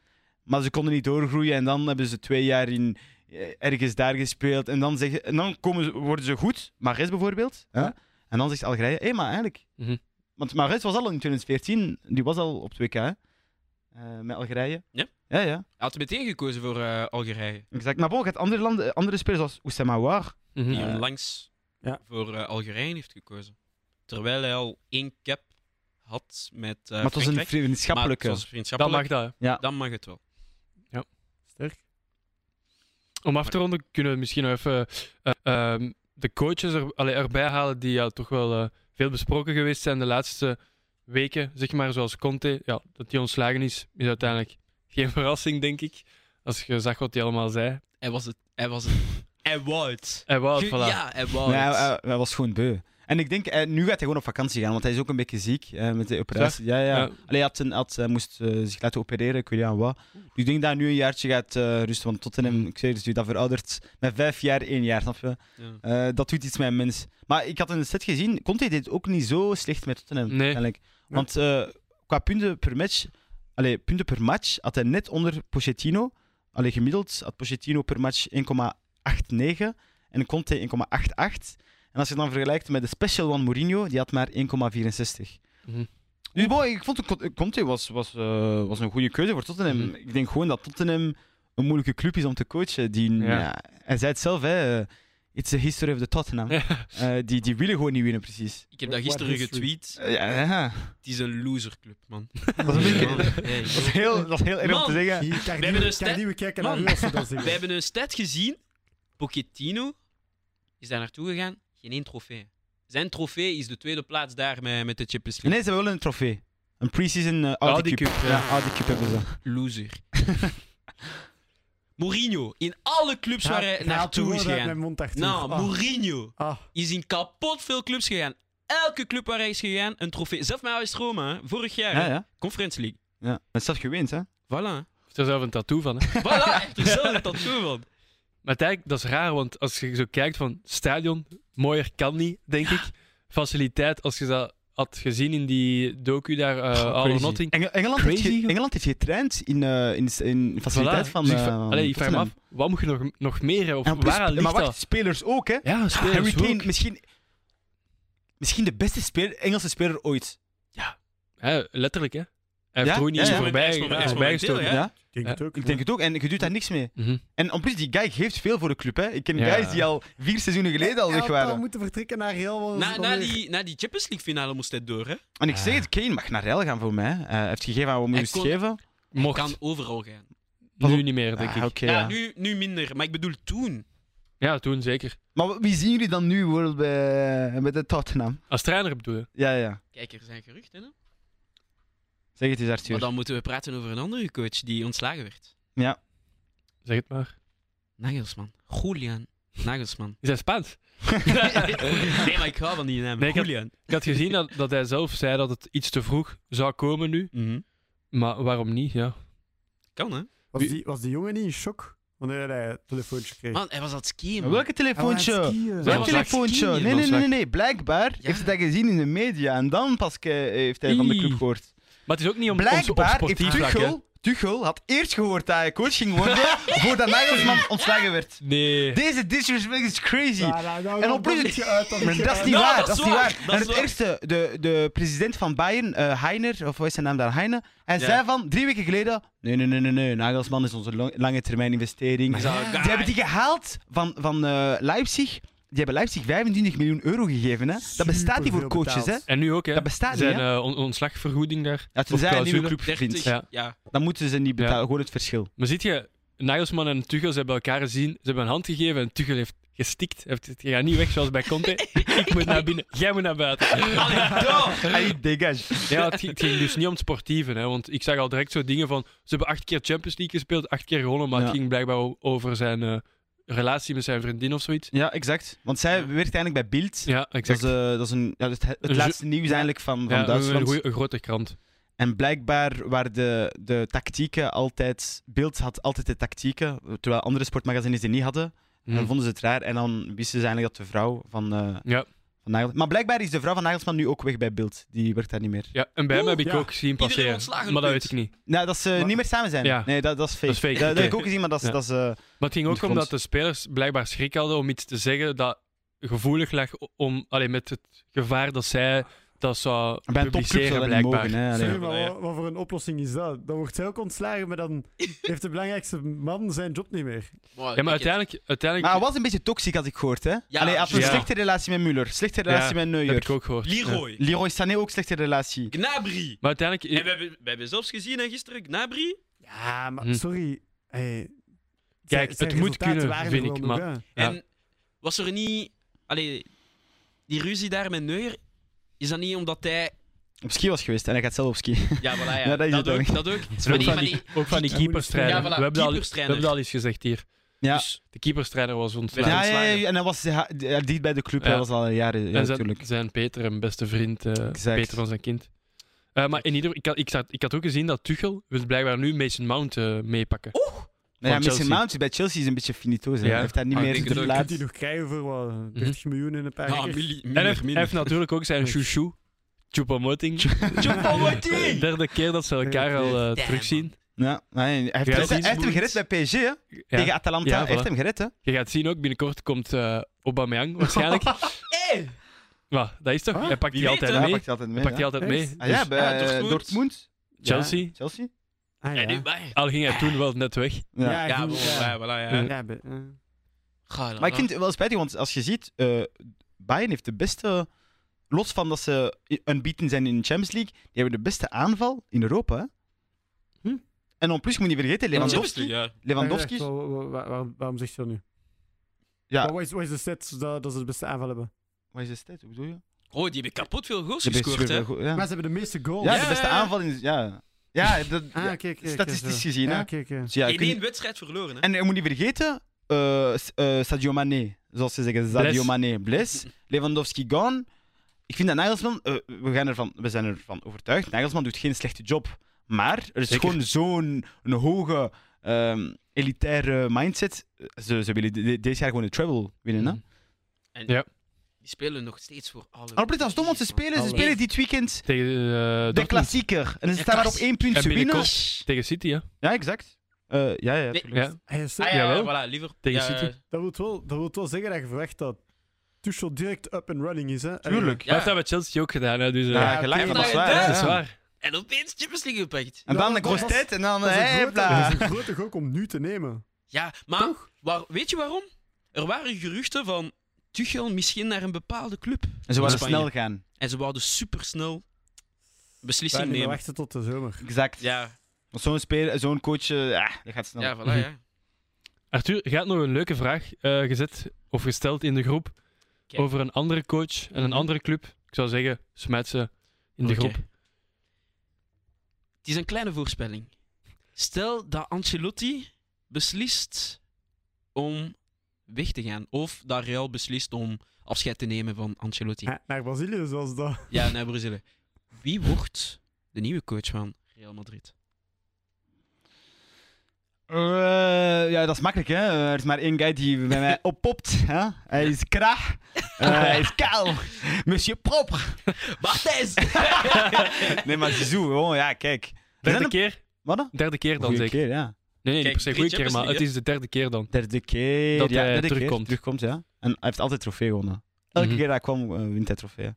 S3: maar ze konden niet doorgroeien en dan hebben ze twee jaar in, eh, ergens daar gespeeld en dan, zeggen, en dan komen ze, worden ze goed, Mares bijvoorbeeld, hè?
S2: Ja.
S3: en dan zegt Algerije, hé, maar eigenlijk...
S1: Mhm.
S3: Want Mares was al in 2014, die was al op 2K, hè? Eh, met Algerije.
S4: Ja.
S3: Ja, ja.
S4: Had meteen gekozen voor eh, Algerije.
S3: Exact. Maar bon, gaat andere, landen, andere spelers als Oussama War.
S1: Mhm.
S4: die
S3: Ja.
S4: onlangs
S2: Ja.
S4: voor eh, Algerije heeft gekozen. Terwijl hij al één cap had met eh
S3: maar het was een
S4: Frankrijk. Maar het
S3: vriendschappelijke.
S4: was
S1: Dan
S4: vriendschappelijk.
S1: mag dat. hè.
S4: Dan mag het wel.
S2: Sterk.
S1: Om af te ronden kunnen we misschien nog even eh, ehm, de coaches er, allee, erbij halen die ja, toch wel eh, veel besproken geweest zijn de laatste weken. Zeg maar, zoals Conte, ja, dat hij ontslagen is, is uiteindelijk geen verrassing, denk ik. Als je zag wat hij allemaal zei.
S4: Hij was het. Hij was het. hij wou het.
S1: En
S3: Oh,
S1: wou het,
S4: Ge-
S1: voilà.
S4: Ja, hij wou
S3: Nee, hij,
S4: het.
S3: hij- hij was gewoon beu. En ik denk, eh, nu gaat hij gewoon op vakantie gaan, want hij is ook een beetje ziek eh, met de operatie. Ja, ja.
S1: Ja.
S3: Allee, hij, had een, had, hij moest eh, zich laten opereren, ik weet niet aan wat. Dus ik denk dat hij nu een jaartje gaat eh, rusten, want
S4: Mm.
S3: Tottenham, ik zeg het, je, dat veroudert met vijf jaar één jaar, snap je?
S4: Ja.
S3: Eh, dat doet iets met een mens. Maar ik had een set gezien, Conte deed het ook niet zo slecht met Tottenham,
S1: Nee.
S3: eigenlijk. Want eh, qua punten per match, allee, punten per match had hij net onder Pochettino. Allee, gemiddeld had Pochettino per match 1,89 en Conte 1,88. En als je dan vergelijkt met de special one Mourinho, die had maar 1,64.
S1: Mhm.
S3: Dus boy, ik vond Con- Conte was, was, eh, was een goede keuze voor Tottenham.
S1: Mhm.
S3: Ik denk gewoon dat Tottenham een moeilijke club is om te coachen. Die,
S1: Ja.
S3: ja, hij zei het zelf, hè, eh, it's the history of the Tottenham. Eh, die, die willen gewoon niet winnen, precies.
S4: Ik heb dat
S2: What
S4: gisteren
S2: history.
S4: getweet.
S3: Eh, ja, ja.
S4: Het is een loserclub, man.
S3: Dat is een beetje...
S4: Hey.
S3: Dat is heel, dat is heel erg om te
S4: Man.
S3: zeggen.
S2: Die
S4: hebben
S2: Cardi-
S4: dus net-
S2: Cardi, we kijken naar
S4: Man.
S2: u als we dat
S4: We
S2: zeggen.
S4: hebben een stat gezien. Pochettino is daar naartoe gegaan. Geen één trofee. Zijn trofee is de tweede plaats daar met, met de Champions League.
S3: Nee, ze hebben wel een trofee. Een pre-season eh, Audi,
S1: Audi
S3: Cup.
S1: Cup, ja.
S3: ja. Audi Cup hebben ze.
S4: Loser. Mourinho, in alle clubs waar hij
S2: haalt de
S4: naartoe is
S2: woorden uit mijn
S4: gegaan.
S2: mond, Arthur.
S4: Nou,
S2: Ah.
S4: Mourinho
S2: Ah,
S4: is in kapot veel clubs gegaan. Elke club waar hij is gegaan, een trofee. Zelf met AS Roma, hè. vorig jaar,
S3: Ja,
S4: hè.
S3: ja.
S4: Conference League.
S3: ja. Maar zelf gewend, hè?
S4: Voilà.
S1: Heeft er zelf een tattoo van. Hè?
S4: Voilà, hij heeft er zelf een tattoo van.
S1: Maar eigenlijk, dat is raar, want als je zo kijkt van stadion, mooier kan niet, denk ik. Faciliteit, als je dat had gezien in die docu daar, eh
S3: Goh,
S1: All or
S3: crazy.
S1: Nothing.
S3: Eng- Engeland, heeft
S1: Crazy,
S3: ge-
S1: joh.
S3: Engeland heeft getraind in, eh in, in faciliteit
S1: Voilà.
S3: van.
S1: Dus ik
S3: eh,
S1: vraag- allee, ik vraag me
S3: Tottenham.
S1: af, wat moet je nog, nog meer hebben? Of
S3: En plus-
S1: waar ligt
S3: maar wacht,
S1: dat?
S3: spelers ook, hè?
S1: Ja, spelers
S3: Harry Kane,
S1: ook.
S3: misschien, misschien de beste speler, Engelse speler ooit.
S1: Hè, letterlijk, hè. Hij heeft
S3: Ja?
S1: Rooney
S3: Ja, ja.
S1: voorbij,
S4: Hij is momenteel,
S1: hij is voorbijgestoten.
S4: ja.
S3: Ja?
S2: Ik denk
S1: Ja,
S2: het ook.
S3: Ik denk het ook. En je doet daar niks mee.
S1: Mhm.
S3: En op plus, die guy geeft veel voor de club. Hè. Ik ken
S1: Ja.
S3: guys die al vier seizoenen geleden al weg
S2: We
S3: waren.
S2: moeten vertrekken naar heel veel.
S4: Na, na, die, na die Champions League finale moest hij door, hè?
S3: En ik
S1: Ah.
S3: zeg het, Kane mag naar Real gaan voor mij. hè. Eh, Hij heeft gegeven aan wat moest
S4: kon-
S3: geven.
S1: Mocht.
S4: Kan overal gaan.
S3: Pas
S1: Nu
S3: op.
S1: niet meer, denk
S3: Ah,
S1: ik.
S3: oké,
S4: Ja,
S3: ja.
S4: nu, nu minder. Maar ik bedoel toen.
S1: Ja, toen zeker.
S3: Maar wat- wie zien jullie dan nu bijvoorbeeld bij, bij de Tottenham?
S1: Als trainer bedoel je?
S3: Ja, ja.
S4: Kijk, er zijn geruchten, hè?
S3: Zeg het eens, Arthur.
S4: Maar dan moeten we praten over een andere coach die ontslagen werd.
S1: Zeg het maar.
S4: Nagelsman. Julian. Nagelsman.
S1: Is hij Spaans?
S4: nee, maar ik hou van die naam.
S1: Nee, ik had-
S4: Julian.
S1: Ik had gezien dat, dat hij zelf zei dat het iets te vroeg zou komen nu.
S4: Mhm.
S1: Maar waarom niet, ja.
S4: Kan, hè?
S2: Was, die, was die jongen niet in shock wanneer hij een telefoontje kreeg?
S4: Man, hij was aan het skiën,
S3: Maar
S4: man.
S3: Welke telefoontje?
S2: Hij was aan het skiën.
S1: Welke
S3: Welk
S1: was
S3: telefoontje?
S4: aan het
S3: Nee, nee,
S1: skiën.
S3: nee, nee, nee. Blijkbaar heeft hij dat gezien in de media. En dan pas ke- heeft hij van de
S1: Ie.
S3: club gehoord.
S1: Maar het is ook niet om, om-
S3: Blijkbaar
S1: op
S3: heeft
S1: sportief vlak, hè.
S3: Tuchel, Tuchel had eerst gehoord dat hij coach ging worden voordat Nagelsman ontslagen werd.
S1: Nee.
S3: Deze disrespect is crazy.
S2: Ja, nou, nou,
S3: En
S2: dan
S3: op plus-
S2: ligt je uit, dan
S3: Maar
S2: ligt je
S3: dat is
S2: uit.
S3: niet
S4: Nou,
S3: waar.
S4: dat
S3: Dat
S4: is
S3: is niet
S4: waar,
S3: waar.
S4: dat
S3: En
S4: is
S3: het
S4: waar.
S3: eerste, de, de president van Bayern, eh Heiner, of wat is zijn naam daar? Heine. Hij
S4: Ja.
S3: zei van drie weken geleden: nee, nee, nee, nee, nee. Nagelsman is onze lang- lange termijn investering.
S4: Is dat een guy?
S3: Die hebben die gehaald van, van eh, Leipzig. Die hebben Leipzig 25 miljoen euro gegeven. Hè. Dat bestaat niet voor
S2: Superveel
S3: coaches. Hè.
S2: betaald.
S1: En nu ook, hè.
S3: Dat bestaat niet,
S1: Zijn eh, on- ontslagvergoeding daar.
S3: Ja,
S1: Of
S3: tenzij een nieuwe
S1: clausule.
S3: club vindt.
S4: 30.
S1: Ja.
S4: Ja.
S3: Dan moeten ze niet betalen.
S1: Ja.
S3: Gewoon het verschil.
S1: Maar ziet je, Nagelsman en Tuchel ze hebben elkaar gezien, ze hebben een hand gegeven en Tuchel heeft gestikt. Hij Heeft gezegd, je gaat niet weg zoals bij Conte. Ik moet naar binnen, jij moet naar buiten.
S3: Allee, dégage.
S1: Ja, het, ging- het ging dus niet om het sportieve, hè, want ik zag al direct zo dingen van, ze hebben acht keer Champions League gespeeld, acht keer gewonnen, maar het
S3: Ja.
S1: ging blijkbaar o- over zijn eh, relatie met zijn vriendin of zoiets.
S3: Ja, exact. Want zij
S4: Ja.
S3: werkt eigenlijk bij Bild.
S1: Ja,
S3: Dat is,
S1: exact.
S3: eh, dat is een, ja, dat is het, het
S1: Een
S3: laatste nieuws eigenlijk van, van
S1: Ja,
S3: Duitsland.
S1: een, goeie- een grote krant.
S3: En blijkbaar waren de, de tactieken altijd... Beeld had altijd de tactieken, terwijl andere sportmagazines die niet hadden. En dan
S1: Hm.
S3: vonden ze het raar en dan wisten ze eigenlijk dat de vrouw van, eh
S1: Ja.
S3: van Nagelsman... Maar blijkbaar is de vrouw van Nagelsman nu ook weg bij Beeld. Die werkt daar niet meer.
S1: Ja, en bij hem
S2: Oeh,
S1: heb ik
S2: ja.
S1: ook zien
S4: Iedereen
S1: passeren,
S4: ontslagen
S1: maar dat
S4: punt.
S1: weet ik niet.
S3: Nou, dat ze
S2: Maar-
S3: niet meer samen zijn.
S1: Ja.
S3: Nee, dat, dat is fake.
S1: Dat is fake,
S3: Dat, dat heb
S1: oké.
S3: ik ook gezien, maar dat is...
S1: Ja.
S3: Dat is eh,
S1: Maar het ging
S3: In
S1: ook
S3: de
S1: omdat de
S3: grond.
S1: spelers blijkbaar schrik hadden om iets te zeggen dat gevoelig lag om, allee, met het gevaar dat zij dat zou
S3: bij een topclub zou
S1: publiceren,
S3: dat niet
S1: blijkbaar.
S3: mogen. Hè. Allee.
S2: Sorry, maar
S4: Ja.
S2: wat, wat voor een oplossing is dat? Dan wordt zij ook ontslagen, maar dan heeft de belangrijkste man zijn job niet meer.
S1: ja, maar uiteindelijk, uiteindelijk
S3: Maar hij was een beetje toxisch, had ik gehoord. Hè?
S4: Ja,
S3: Allee, hij had een
S1: ja.
S3: slechte relatie met Müller, slechte
S1: Ja,
S3: relatie met
S1: dat
S3: Neuer.
S1: heb ik ook gehoord. Ja.
S4: Leroy.
S3: Leroy Sané ook slechte relatie.
S4: Gnabry.
S1: Maar uiteindelijk,
S4: En we hebben, we hebben zelfs gezien hè, gisteren Gnabry.
S2: Ja, maar
S1: Hm.
S2: sorry. Hey,
S1: Kijk, het moet
S2: resultaten
S1: kunnen,
S2: waren er
S1: vind
S2: wel
S1: ik,
S2: nog,
S1: maar-
S2: hè.
S1: Ja.
S4: En was er niet. Allee, die ruzie daar met Neuer. Is dat niet omdat hij.
S3: Op ski was geweest en hij gaat zelf op ski.
S4: Ja, voilà, ja.
S3: Ja, dat is het
S4: ook.
S3: ook.
S4: Dat ook.
S1: is
S4: Maar
S1: ook
S4: die,
S1: van
S4: maar
S1: die-
S4: die-
S1: ook van die keeperstrainer.
S4: Ja, voilà,
S1: we, hebben dat al, we
S4: keeperstrainer.
S1: hebben dat al eens gezegd hier.
S3: Ja.
S1: Dus de keeperstrainer was
S3: Ja,
S1: ontslagen.
S3: ja, ja,
S4: ontslagen.
S3: ja, en hij was ja, ja, dicht bij de club.
S1: Ja.
S3: Hij was al jaren, ja,
S1: en zijn,
S3: natuurlijk.
S1: zijn Peter, een beste vriend, eh,
S3: Exact.
S1: Peter van zijn kind. Eh, maar in ieder ik had, ik, zat, ik had ook gezien dat Tuchel wil blijkbaar nu Mason Mount eh, meepakken.
S3: Nou ja,
S1: Chelsea.
S3: Mason Mount bij Chelsea is een beetje finito. hè.
S1: Ja.
S3: Hij heeft daar niet
S4: Ah, ik
S3: meer
S4: denk
S3: de
S4: het ook.
S2: Kunt
S3: plaats.
S2: hij nog krijgen voor
S1: Hm.
S2: wat, 30 miljoen in een paar
S4: Ja,
S2: jaar?
S4: Ah, milli-
S1: en hij
S4: minder,
S1: heeft, hij heeft
S4: minder.
S1: natuurlijk ook zijn chouchou, Choupo-Moting. De
S4: Choupo-Moting!
S1: derde keer dat ze elkaar al eh,
S4: Damn,
S1: terugzien.
S3: Ja, maar hij hij heeft,
S1: Ja,
S3: hij heeft
S1: Chelsea
S3: hem gered bij PSG hè, tegen
S1: Ja.
S3: Atalanta.
S1: Ja,
S3: Hij heeft
S1: voilà.
S3: hem gered, hè?
S1: Je gaat zien ook, binnenkort komt eh Aubameyang waarschijnlijk.
S4: Hey!
S1: Maar dat is toch?
S2: Ah,
S1: hij pakt
S4: wie
S1: die
S4: weet,
S1: altijd
S4: hè?
S3: hij
S1: mee.
S3: pakt hij altijd
S1: Hij
S3: mee.
S1: pakt die
S3: ja.
S1: altijd
S2: Echt?
S1: mee.
S3: Ah, ja,
S1: Dus
S3: bij
S4: Ja,
S3: eh,
S4: Dortmund.
S3: Dortmund.
S1: Chelsea.
S3: Chelsea?
S2: Ah,
S4: Ja,
S2: ja.
S4: nu bij.
S1: Al ging hij toen wel net weg.
S3: Ja.
S2: Ja,
S4: Ja,
S2: goed,
S4: voilà,
S2: ja.
S4: ja, voilà, ja.
S1: Ja.
S2: Ja, be- eh.
S4: Ga,
S3: Maar ik vind het wel spijtig, want als je ziet, eh, Bayern heeft de beste... Los van dat ze unbeaten zijn in de Champions League, die hebben de beste aanval in Europa. Hè?
S2: Hm.
S3: En dan plus, je moet niet vergeten, Lewandowski...
S4: Ja.
S3: Lewandowski.
S2: Waar- waar- waar- waarom- Waarom zegt je dat nu?
S3: Ja.
S2: Maar Wat is, wat is de set dat, dat ze het beste aanval hebben?
S3: Wat is de stat? Hoe bedoel je?
S4: Oh, die hebben kapot veel goals
S3: De beste
S4: gescoord, hè?
S3: speler, goed, ja.
S2: Maar ze hebben de meeste goals.
S3: Ja,
S4: Ja,
S3: de beste
S4: ja, ja.
S3: aanval in. Ja, ja, dat,
S2: Ah,
S3: ja,
S2: oké, oké, oké,
S3: statistisch
S2: zo.
S3: gezien. Hè?
S2: Ja, oké, oké.
S3: Dus ja,
S4: In
S3: kun-
S4: één wedstrijd verloren, hè?
S3: En je moet niet vergeten: eh, S- eh, Sadio Mane, zoals ze zeggen, Sadio
S1: Bless.
S3: Mane, bless. Lewandowski gone. Ik vind dat Nagelsman, eh, we, gaan ervan, we zijn ervan overtuigd, Nagelsman doet geen slechte job. Maar er is
S1: Zeker.
S3: gewoon zo'n een hoge ehm, Eh,
S4: Mm.
S3: elitaire mindset. Ze, ze willen de- de- deze jaar gewoon de treble winnen. Hè?
S1: Mhm.
S4: Die spelen nog steeds voor alle.
S3: Alberta is dom, want ze spelen, ze
S2: Alle-
S3: spelen dit weekend
S1: Tegen, eh,
S3: de
S1: Dortmund.
S3: klassieker. En ze
S4: Ja,
S3: staan maar op
S4: klassiek.
S3: één punt.
S1: En
S3: Ze winnen.
S1: binnenkort- Tegen City, hè?
S3: Ja, exact. Eh, ja, ja,
S4: Nee.
S3: tuurlijk.
S1: Ja.
S2: Hij is zo-
S4: Ah, ja, ja,
S1: Jawel.
S4: voilà, liever.
S1: Tegen
S4: ja,
S1: City.
S2: dat, wil wel, dat wil wel zeggen dat je verwacht dat Tuchel direct up and running is. Hè?
S3: Tuurlijk.
S1: Hij heeft dat bij Chelsea ook gedaan, hè? Dus, eh,
S3: Ja,
S2: Ja,
S3: gelijk,
S4: tuurlijk.
S3: dat is waar.
S4: Ja,
S1: dat is
S3: ja.
S1: waar.
S4: En opeens Champions League gepakt.
S3: En
S2: Ja,
S3: dan de
S2: dat was-
S3: Grostet en dan...
S2: Dat is, een
S3: eh,
S2: grote,
S3: bla.
S2: dat is een grote gok om nu te nemen.
S4: Ja, maar waar, weet je waarom? Er waren geruchten van Tuchel misschien naar een bepaalde club.
S3: En ze wilden
S4: Spanje.
S3: snel gaan.
S4: En ze wouden supersnel beslissing
S2: Weinig
S4: nemen.
S2: wachten tot de zomer.
S3: Exact.
S4: Ja,
S3: Want zo'n speler, zo'n coach, eh, ah, dat gaat snel.
S4: ja, voilà,
S1: Mhm.
S4: ja.
S1: Arthur, je had nog een leuke vraag eh, gezet of gesteld in de groep
S4: Oké.
S1: over een andere coach en een andere club. Ik zou zeggen, smijt ze in de
S4: Oké.
S1: groep.
S4: Het is een kleine voorspelling. Stel dat Ancelotti beslist om weg te gaan. Of dat Real beslist om afscheid te nemen van Ancelotti.
S2: Ja, naar Brazilië, zoals dat.
S4: Ja, naar Brazilië. Wie wordt de nieuwe coach van Real Madrid?
S3: Eh, ja, dat is makkelijk, hè. Er is maar één guy die bij mij oppopt. Hè? Hij is kraag. Eh, hij is kaal. Monsieur Proper.
S4: Barthez!
S3: Nee, maar Zizou, gewoon, ja, kijk. Er zijn
S1: Derde
S3: een-
S1: keer,
S3: Wat dan?
S1: derde keer dan
S3: Goeie
S1: zeker.
S3: keer, ja.
S1: Nee, nee,
S4: Kijk,
S1: niet per se
S4: drie
S1: goede keer, maar
S4: Champions
S1: het
S4: League,
S1: is de derde keer dan.
S3: Derde keer.
S1: Dat
S3: ja,
S1: hij
S3: derde keer.
S1: terugkomt.
S3: Terugkomt, ja. En hij heeft altijd trofee gewonnen. Elke
S1: Mhm.
S3: keer dat hij kwam, eh, wint hij trofee. hè.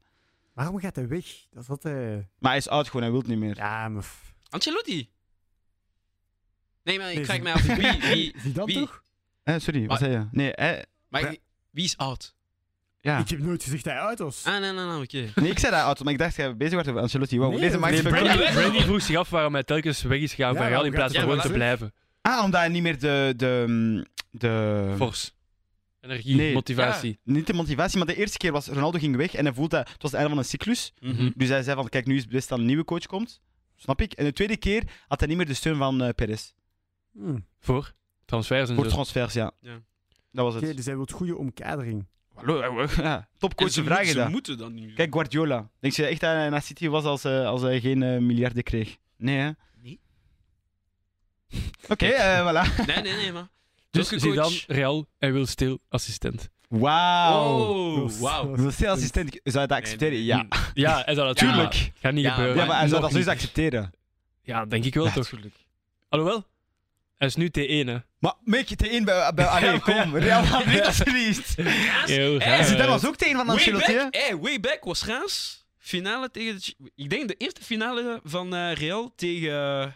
S2: Waarom gaat hij weg? Dat is altijd...
S3: Maar hij is oud gewoon, hij wil het niet meer.
S2: Ja, maar... f-
S4: Ancelotti! Nee, maar ik
S2: Nee,
S4: vraag
S2: ze-
S4: mij af wie, wie,
S2: Zie dat
S4: wie?
S2: toch?
S3: Eh, sorry,
S4: Maar-
S3: wat zei je? Nee, hij...
S4: maar, ik- wie is oud?
S3: Ja.
S2: Ik heb nooit gezegd dat hij uit was.
S4: Ah, nee, nee, nee, oké.
S3: Nee, ik zei dat oud, maar ik dacht dat we bezig waren over Ancelotti. Wow,
S2: Nee,
S3: deze
S2: nee,
S3: maakt
S2: nee,
S3: het
S4: Brady-
S3: wel-
S4: Brady-
S1: Randy vroeg zich af waarom hij telkens weg is gegaan
S2: Ja,
S1: van Real in
S2: waarom
S1: plaats
S4: gaat
S1: van
S4: hij
S1: gewoon
S4: wel
S1: te blijven.
S3: Ah, omdat hij niet meer de... de, de
S1: Fors. Energie,
S3: Nee.
S1: motivatie.
S3: Niet de motivatie, maar de eerste keer was Ronaldo ging weg en hij voelde dat het was het einde van een cyclus.
S4: Mhm.
S3: Dus hij zei van, kijk, nu is het best dat een nieuwe coach komt. Snap ik. En de tweede keer had hij niet meer de steun van eh Perez.
S2: Hm. Oké,
S1: Voor transfers en
S3: Voor
S1: zo.
S3: transfers, ja.
S4: Ja.
S3: Dat was het.
S2: dus hij wil goede omkadering.
S3: Hallo, eh, we- ja.
S4: En
S3: Topcoach,
S4: dus- ze,
S3: ze
S4: moet,
S3: vragen
S4: ze
S3: dat.
S4: moeten dan nu.
S3: Kijk, Guardiola. Denk je echt dat hij naar City was als, eh, als hij geen eh, miljarden kreeg? Nee, hè?
S4: Nee.
S3: Oké, eh, voilà.
S4: Nee, nee, nee, maar.
S1: Dus
S4: Welke
S1: zie dan
S4: coach?
S1: Real en wil stil assistent.
S3: Wauw.
S4: Oh, wauw.
S3: Wil je assistent? Zou je dat accepteren?
S4: nee,
S3: Ja.
S1: Ja, hij zou dat doen,
S3: Tuurlijk.
S1: maar Gaat niet
S4: Ja,
S1: gebeuren.
S3: Ja, maar hij zou
S1: Nog
S3: dat sowieso
S1: niet.
S3: accepteren.
S1: Ja, denk ik wel
S3: Ja,
S1: toch. Alhoewel, hij is nu T1, hè.
S3: Maar make it in bij, bij Allee, kom. Real Madrid alsjeblieft.
S1: Eeuw,
S4: hè?
S1: ja,
S3: En
S4: Eh,
S3: zit daar
S1: ja.
S3: was ook tegen van
S4: Way
S3: Ancelotti. hè?
S4: back, hey, way back was Raas. Finale tegen. De, Ch- ik denk de eerste finale van eh, Real tegen, eh,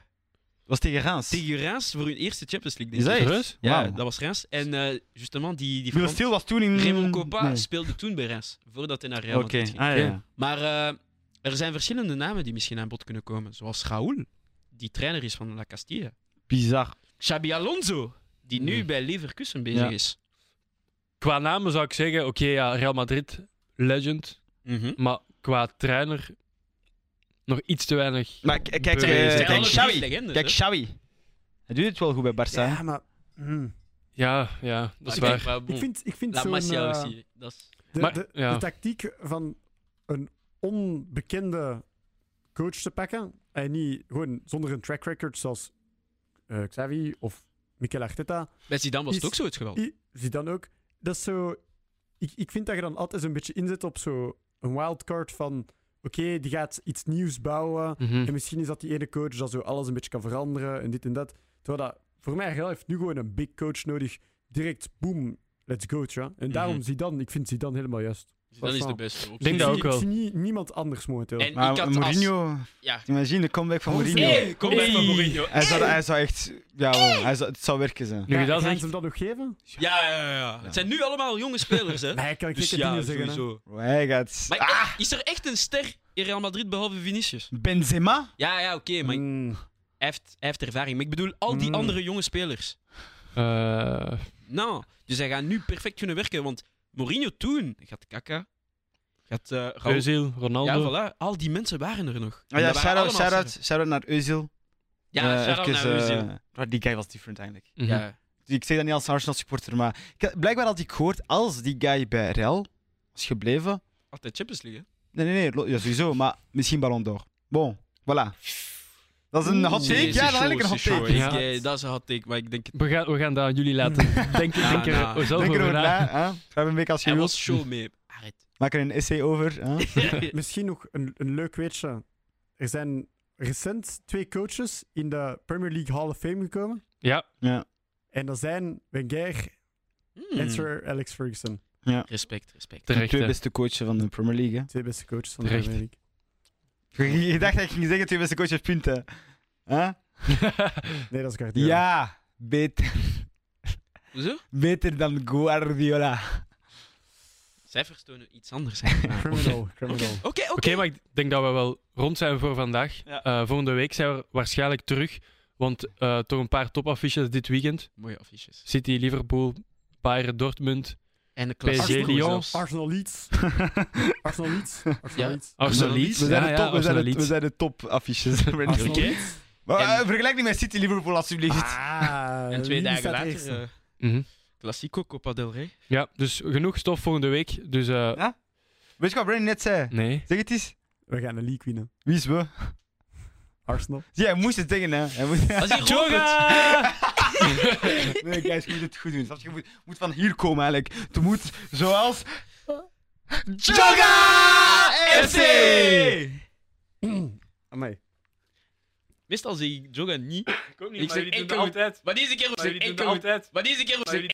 S3: Was tegen Raans.
S4: tegen Raas voor hun eerste Champions League.
S3: Is
S4: Denk ik.
S3: dat
S1: Serieus?
S4: Ja,
S3: Wauw.
S4: dat was Raas. En eh justement, die, die
S3: Wil
S4: Frans-
S3: Stil was toen in...
S4: Raymond Copa
S3: Nee.
S4: speelde toen bij Raas. Voordat hij naar Real
S3: Oké,
S4: Madrid ging.
S3: ah, ja.
S4: Maar eh, er zijn verschillende namen die misschien aan bod kunnen komen. Zoals Raúl, die trainer is van La Castilla.
S3: Bizar.
S4: Xabi Alonso, die nu
S1: Mhm.
S4: bij Leverkusen bezig
S3: Hmm. Ja.
S4: is.
S1: Qua namen zou ik zeggen, oké, ja, Real Madrid, legend.
S4: Mhm.
S1: Maar qua trainer, nog iets te weinig.
S3: Maar k- kijk,
S1: Bewezen.
S3: eh,
S1: Zijn
S3: kijk,
S1: alle
S4: drie
S3: Xavi.
S4: legendes,
S3: Kijk,
S4: hè?
S3: Xavi. Hij doet het wel goed bij Barça. hè?
S2: Ja, maar... hm.
S1: Ja, ja, dat is
S4: Maar kijk,
S1: waar.
S4: maar bon,
S2: Ik vind, ik vind
S4: Hmm. La
S2: zo'n...
S4: Masia
S2: eh,
S4: aussi. Dat is...
S2: de,
S1: Maar-
S2: de-
S1: ja.
S2: de tactiek van een onbekende coach te pakken, en niet gewoon zonder een track record zoals eh, Xavi of Mikel Arteta,
S4: Bij Zidane was het
S2: Is-
S4: ook zo het geval.
S2: I- zie dan ook, dat is zo... Ik, ik vind dat je dan altijd zo'n beetje inzet op zo'n wildcard van... Oké, die gaat iets nieuws bouwen.
S1: Mhm.
S2: En misschien is dat die ene coach dat zo alles een beetje kan veranderen en dit en dat. Terwijl dat, voor mij Real heeft nu gewoon een big coach nodig. Direct, boom, let's go, tja. En daarom
S4: Mhm.
S2: zie dan, ik vind Zidane helemaal juist.
S4: Zidane is
S2: Voilà.
S4: de beste. ook.
S1: denk
S2: Ik
S1: dat
S2: zie-
S1: ook wel.
S2: Ik zie nie- niemand anders momenteel.
S4: En ik
S3: Maar
S4: had als...
S3: Mourinho...
S4: Ja.
S3: Imagine de comeback van
S2: Oh,
S3: Mourinho.
S2: hey,
S4: kom bij
S1: Hey.
S4: van Mourinho.
S3: Hij, zou, hij zou echt... Ja, wel, hij zou, het zou werken zijn.
S1: Nu je dat
S2: gaan
S1: zegt,
S2: ze hem dat nog geven?
S4: Ja, ja, ja, ja. Het zijn nu allemaal jonge spelers, hè.
S2: Nee, kan ik
S4: Dus
S2: zeker
S4: ja,
S2: dingen zeggen. hè.
S4: sowieso.
S3: Hij gaat...
S4: Maar eh, is er echt een ster in Real Madrid behalve Vinicius?
S3: Benzema?
S4: Ja, ja, oké, maar hij
S2: Mm.
S4: heeft, hij heeft ervaring. Maar ik bedoel, al die
S2: Mm.
S4: andere jonge spelers.
S1: eh,
S4: Nou, dus hij gaat nu perfect kunnen werken, want Mourinho toen gaat Kaka, gaat eh Raúl.
S1: Özil,
S4: Ja,
S1: Ronaldo.
S4: voilà, al die mensen waren er nog.
S3: Oh
S4: En
S3: ja,
S4: dat waren
S3: shout-out
S4: allemaal
S3: shout
S4: sterren.
S3: naar Özil.
S4: Ja,
S3: Eh,
S4: shout-out
S3: even,
S4: naar Özil.
S3: eh, maar die guy was different eigenlijk.
S1: Mhm.
S4: Ja.
S3: Ik zeg dat niet als Arsenal supporter, maar ik- blijkbaar had ik gehoord, als die guy bij Real was gebleven...
S4: Altijd Champions League, hè?
S3: Nee, nee, nee, lo- ja, sowieso, maar misschien Ballon d'Or. Bon, voilà. Dat is een hot
S4: Nee,
S3: take.
S4: is
S3: Ja,
S4: show,
S3: dat is een hot
S4: is show,
S3: take.
S4: is-
S1: Ja.
S4: ja, Dat is een hot take, maar ik denk het...
S1: We, gaan, we gaan dat aan jullie laten. Denk,
S4: Ja,
S1: denk er
S4: nou.
S1: zelf
S3: Denk
S1: over
S3: erover
S1: na.
S3: na. hè. Schrijf een beetje als je
S4: Hij
S3: wilt.
S4: was show mee. Arret.
S3: Maak er een essay over. Hè?
S2: Misschien nog een, een leuk weetje. Er zijn recent twee coaches in de Premier League Hall of Fame gekomen.
S1: Ja,
S3: Ja.
S2: En dat zijn Wenger
S4: Hmm.
S2: en Sir Alex Ferguson.
S4: Respect, respect.
S3: De
S1: terecht.
S3: twee
S1: hè.
S3: beste coachen van de Premier League.
S2: Twee beste coaches van de
S1: Terecht.
S2: Premier League.
S3: Hè? Je- Je dacht dat ik ging zeggen twee beste coaches punten. Hè?
S2: Nee, dat is Guardiola.
S3: Ja, beter,
S4: Hoezo?
S3: beter dan Guardiola.
S4: Cijfers tonen iets anders. eigenlijk.
S2: Criminal, criminal.
S4: Oké,
S1: Oké, maar ik denk dat we wel rond zijn voor vandaag.
S3: Ja.
S1: Eh, volgende week zijn we waarschijnlijk terug. Want eh, toch een paar topaffiches dit weekend.
S4: Mooie affiches.
S1: City, Liverpool, Bayern, Dortmund,
S4: En de
S1: PSG,
S4: klassieke
S1: Lyon.
S4: zelfs.
S2: Arsenal Leeds. Arsenal Leeds. Arsenal
S4: Ja.
S2: Leeds.
S1: Arsenal Leeds.
S3: We zijn,
S1: Ja,
S3: de
S1: ja,
S3: top, we,
S1: Arsenal
S3: zijn de, we
S1: Leeds.
S3: zijn de top affiches.
S2: Arsenal
S4: Oké.
S2: Leeds.
S3: Maar, eh,
S4: En-
S3: vergelijk niet met City Liverpool alsjeblieft.
S2: Ah,
S4: En twee
S2: wie
S4: dagen
S2: staat
S4: later,
S2: eerste?
S4: eh
S1: Mhm.
S4: Classico Copa del Rey.
S1: Ja, dus genoeg stof volgende week. Dus eh,
S3: Weet je wat Brandon net zei?
S1: nee.
S3: Zeg het eens.
S2: We gaan de league winnen.
S3: Wie is we?
S2: Arsenal.
S3: Zie, hij moest het zeggen, hè. Hij moest...
S4: Dat is hier
S1: Tjoga!
S3: Nee, guys, je moet het goed doen. Snap je? Je moet, moet van hier komen, eigenlijk. Het moet zoals... Joga FC!
S2: Amai.
S4: Meestal zie ik Joga niet.
S1: Ik ook
S4: niet, maar jullie doen dat
S1: altijd.
S4: Maar deze keer was ik enkel.
S1: altijd.
S4: Maar deze keer was ik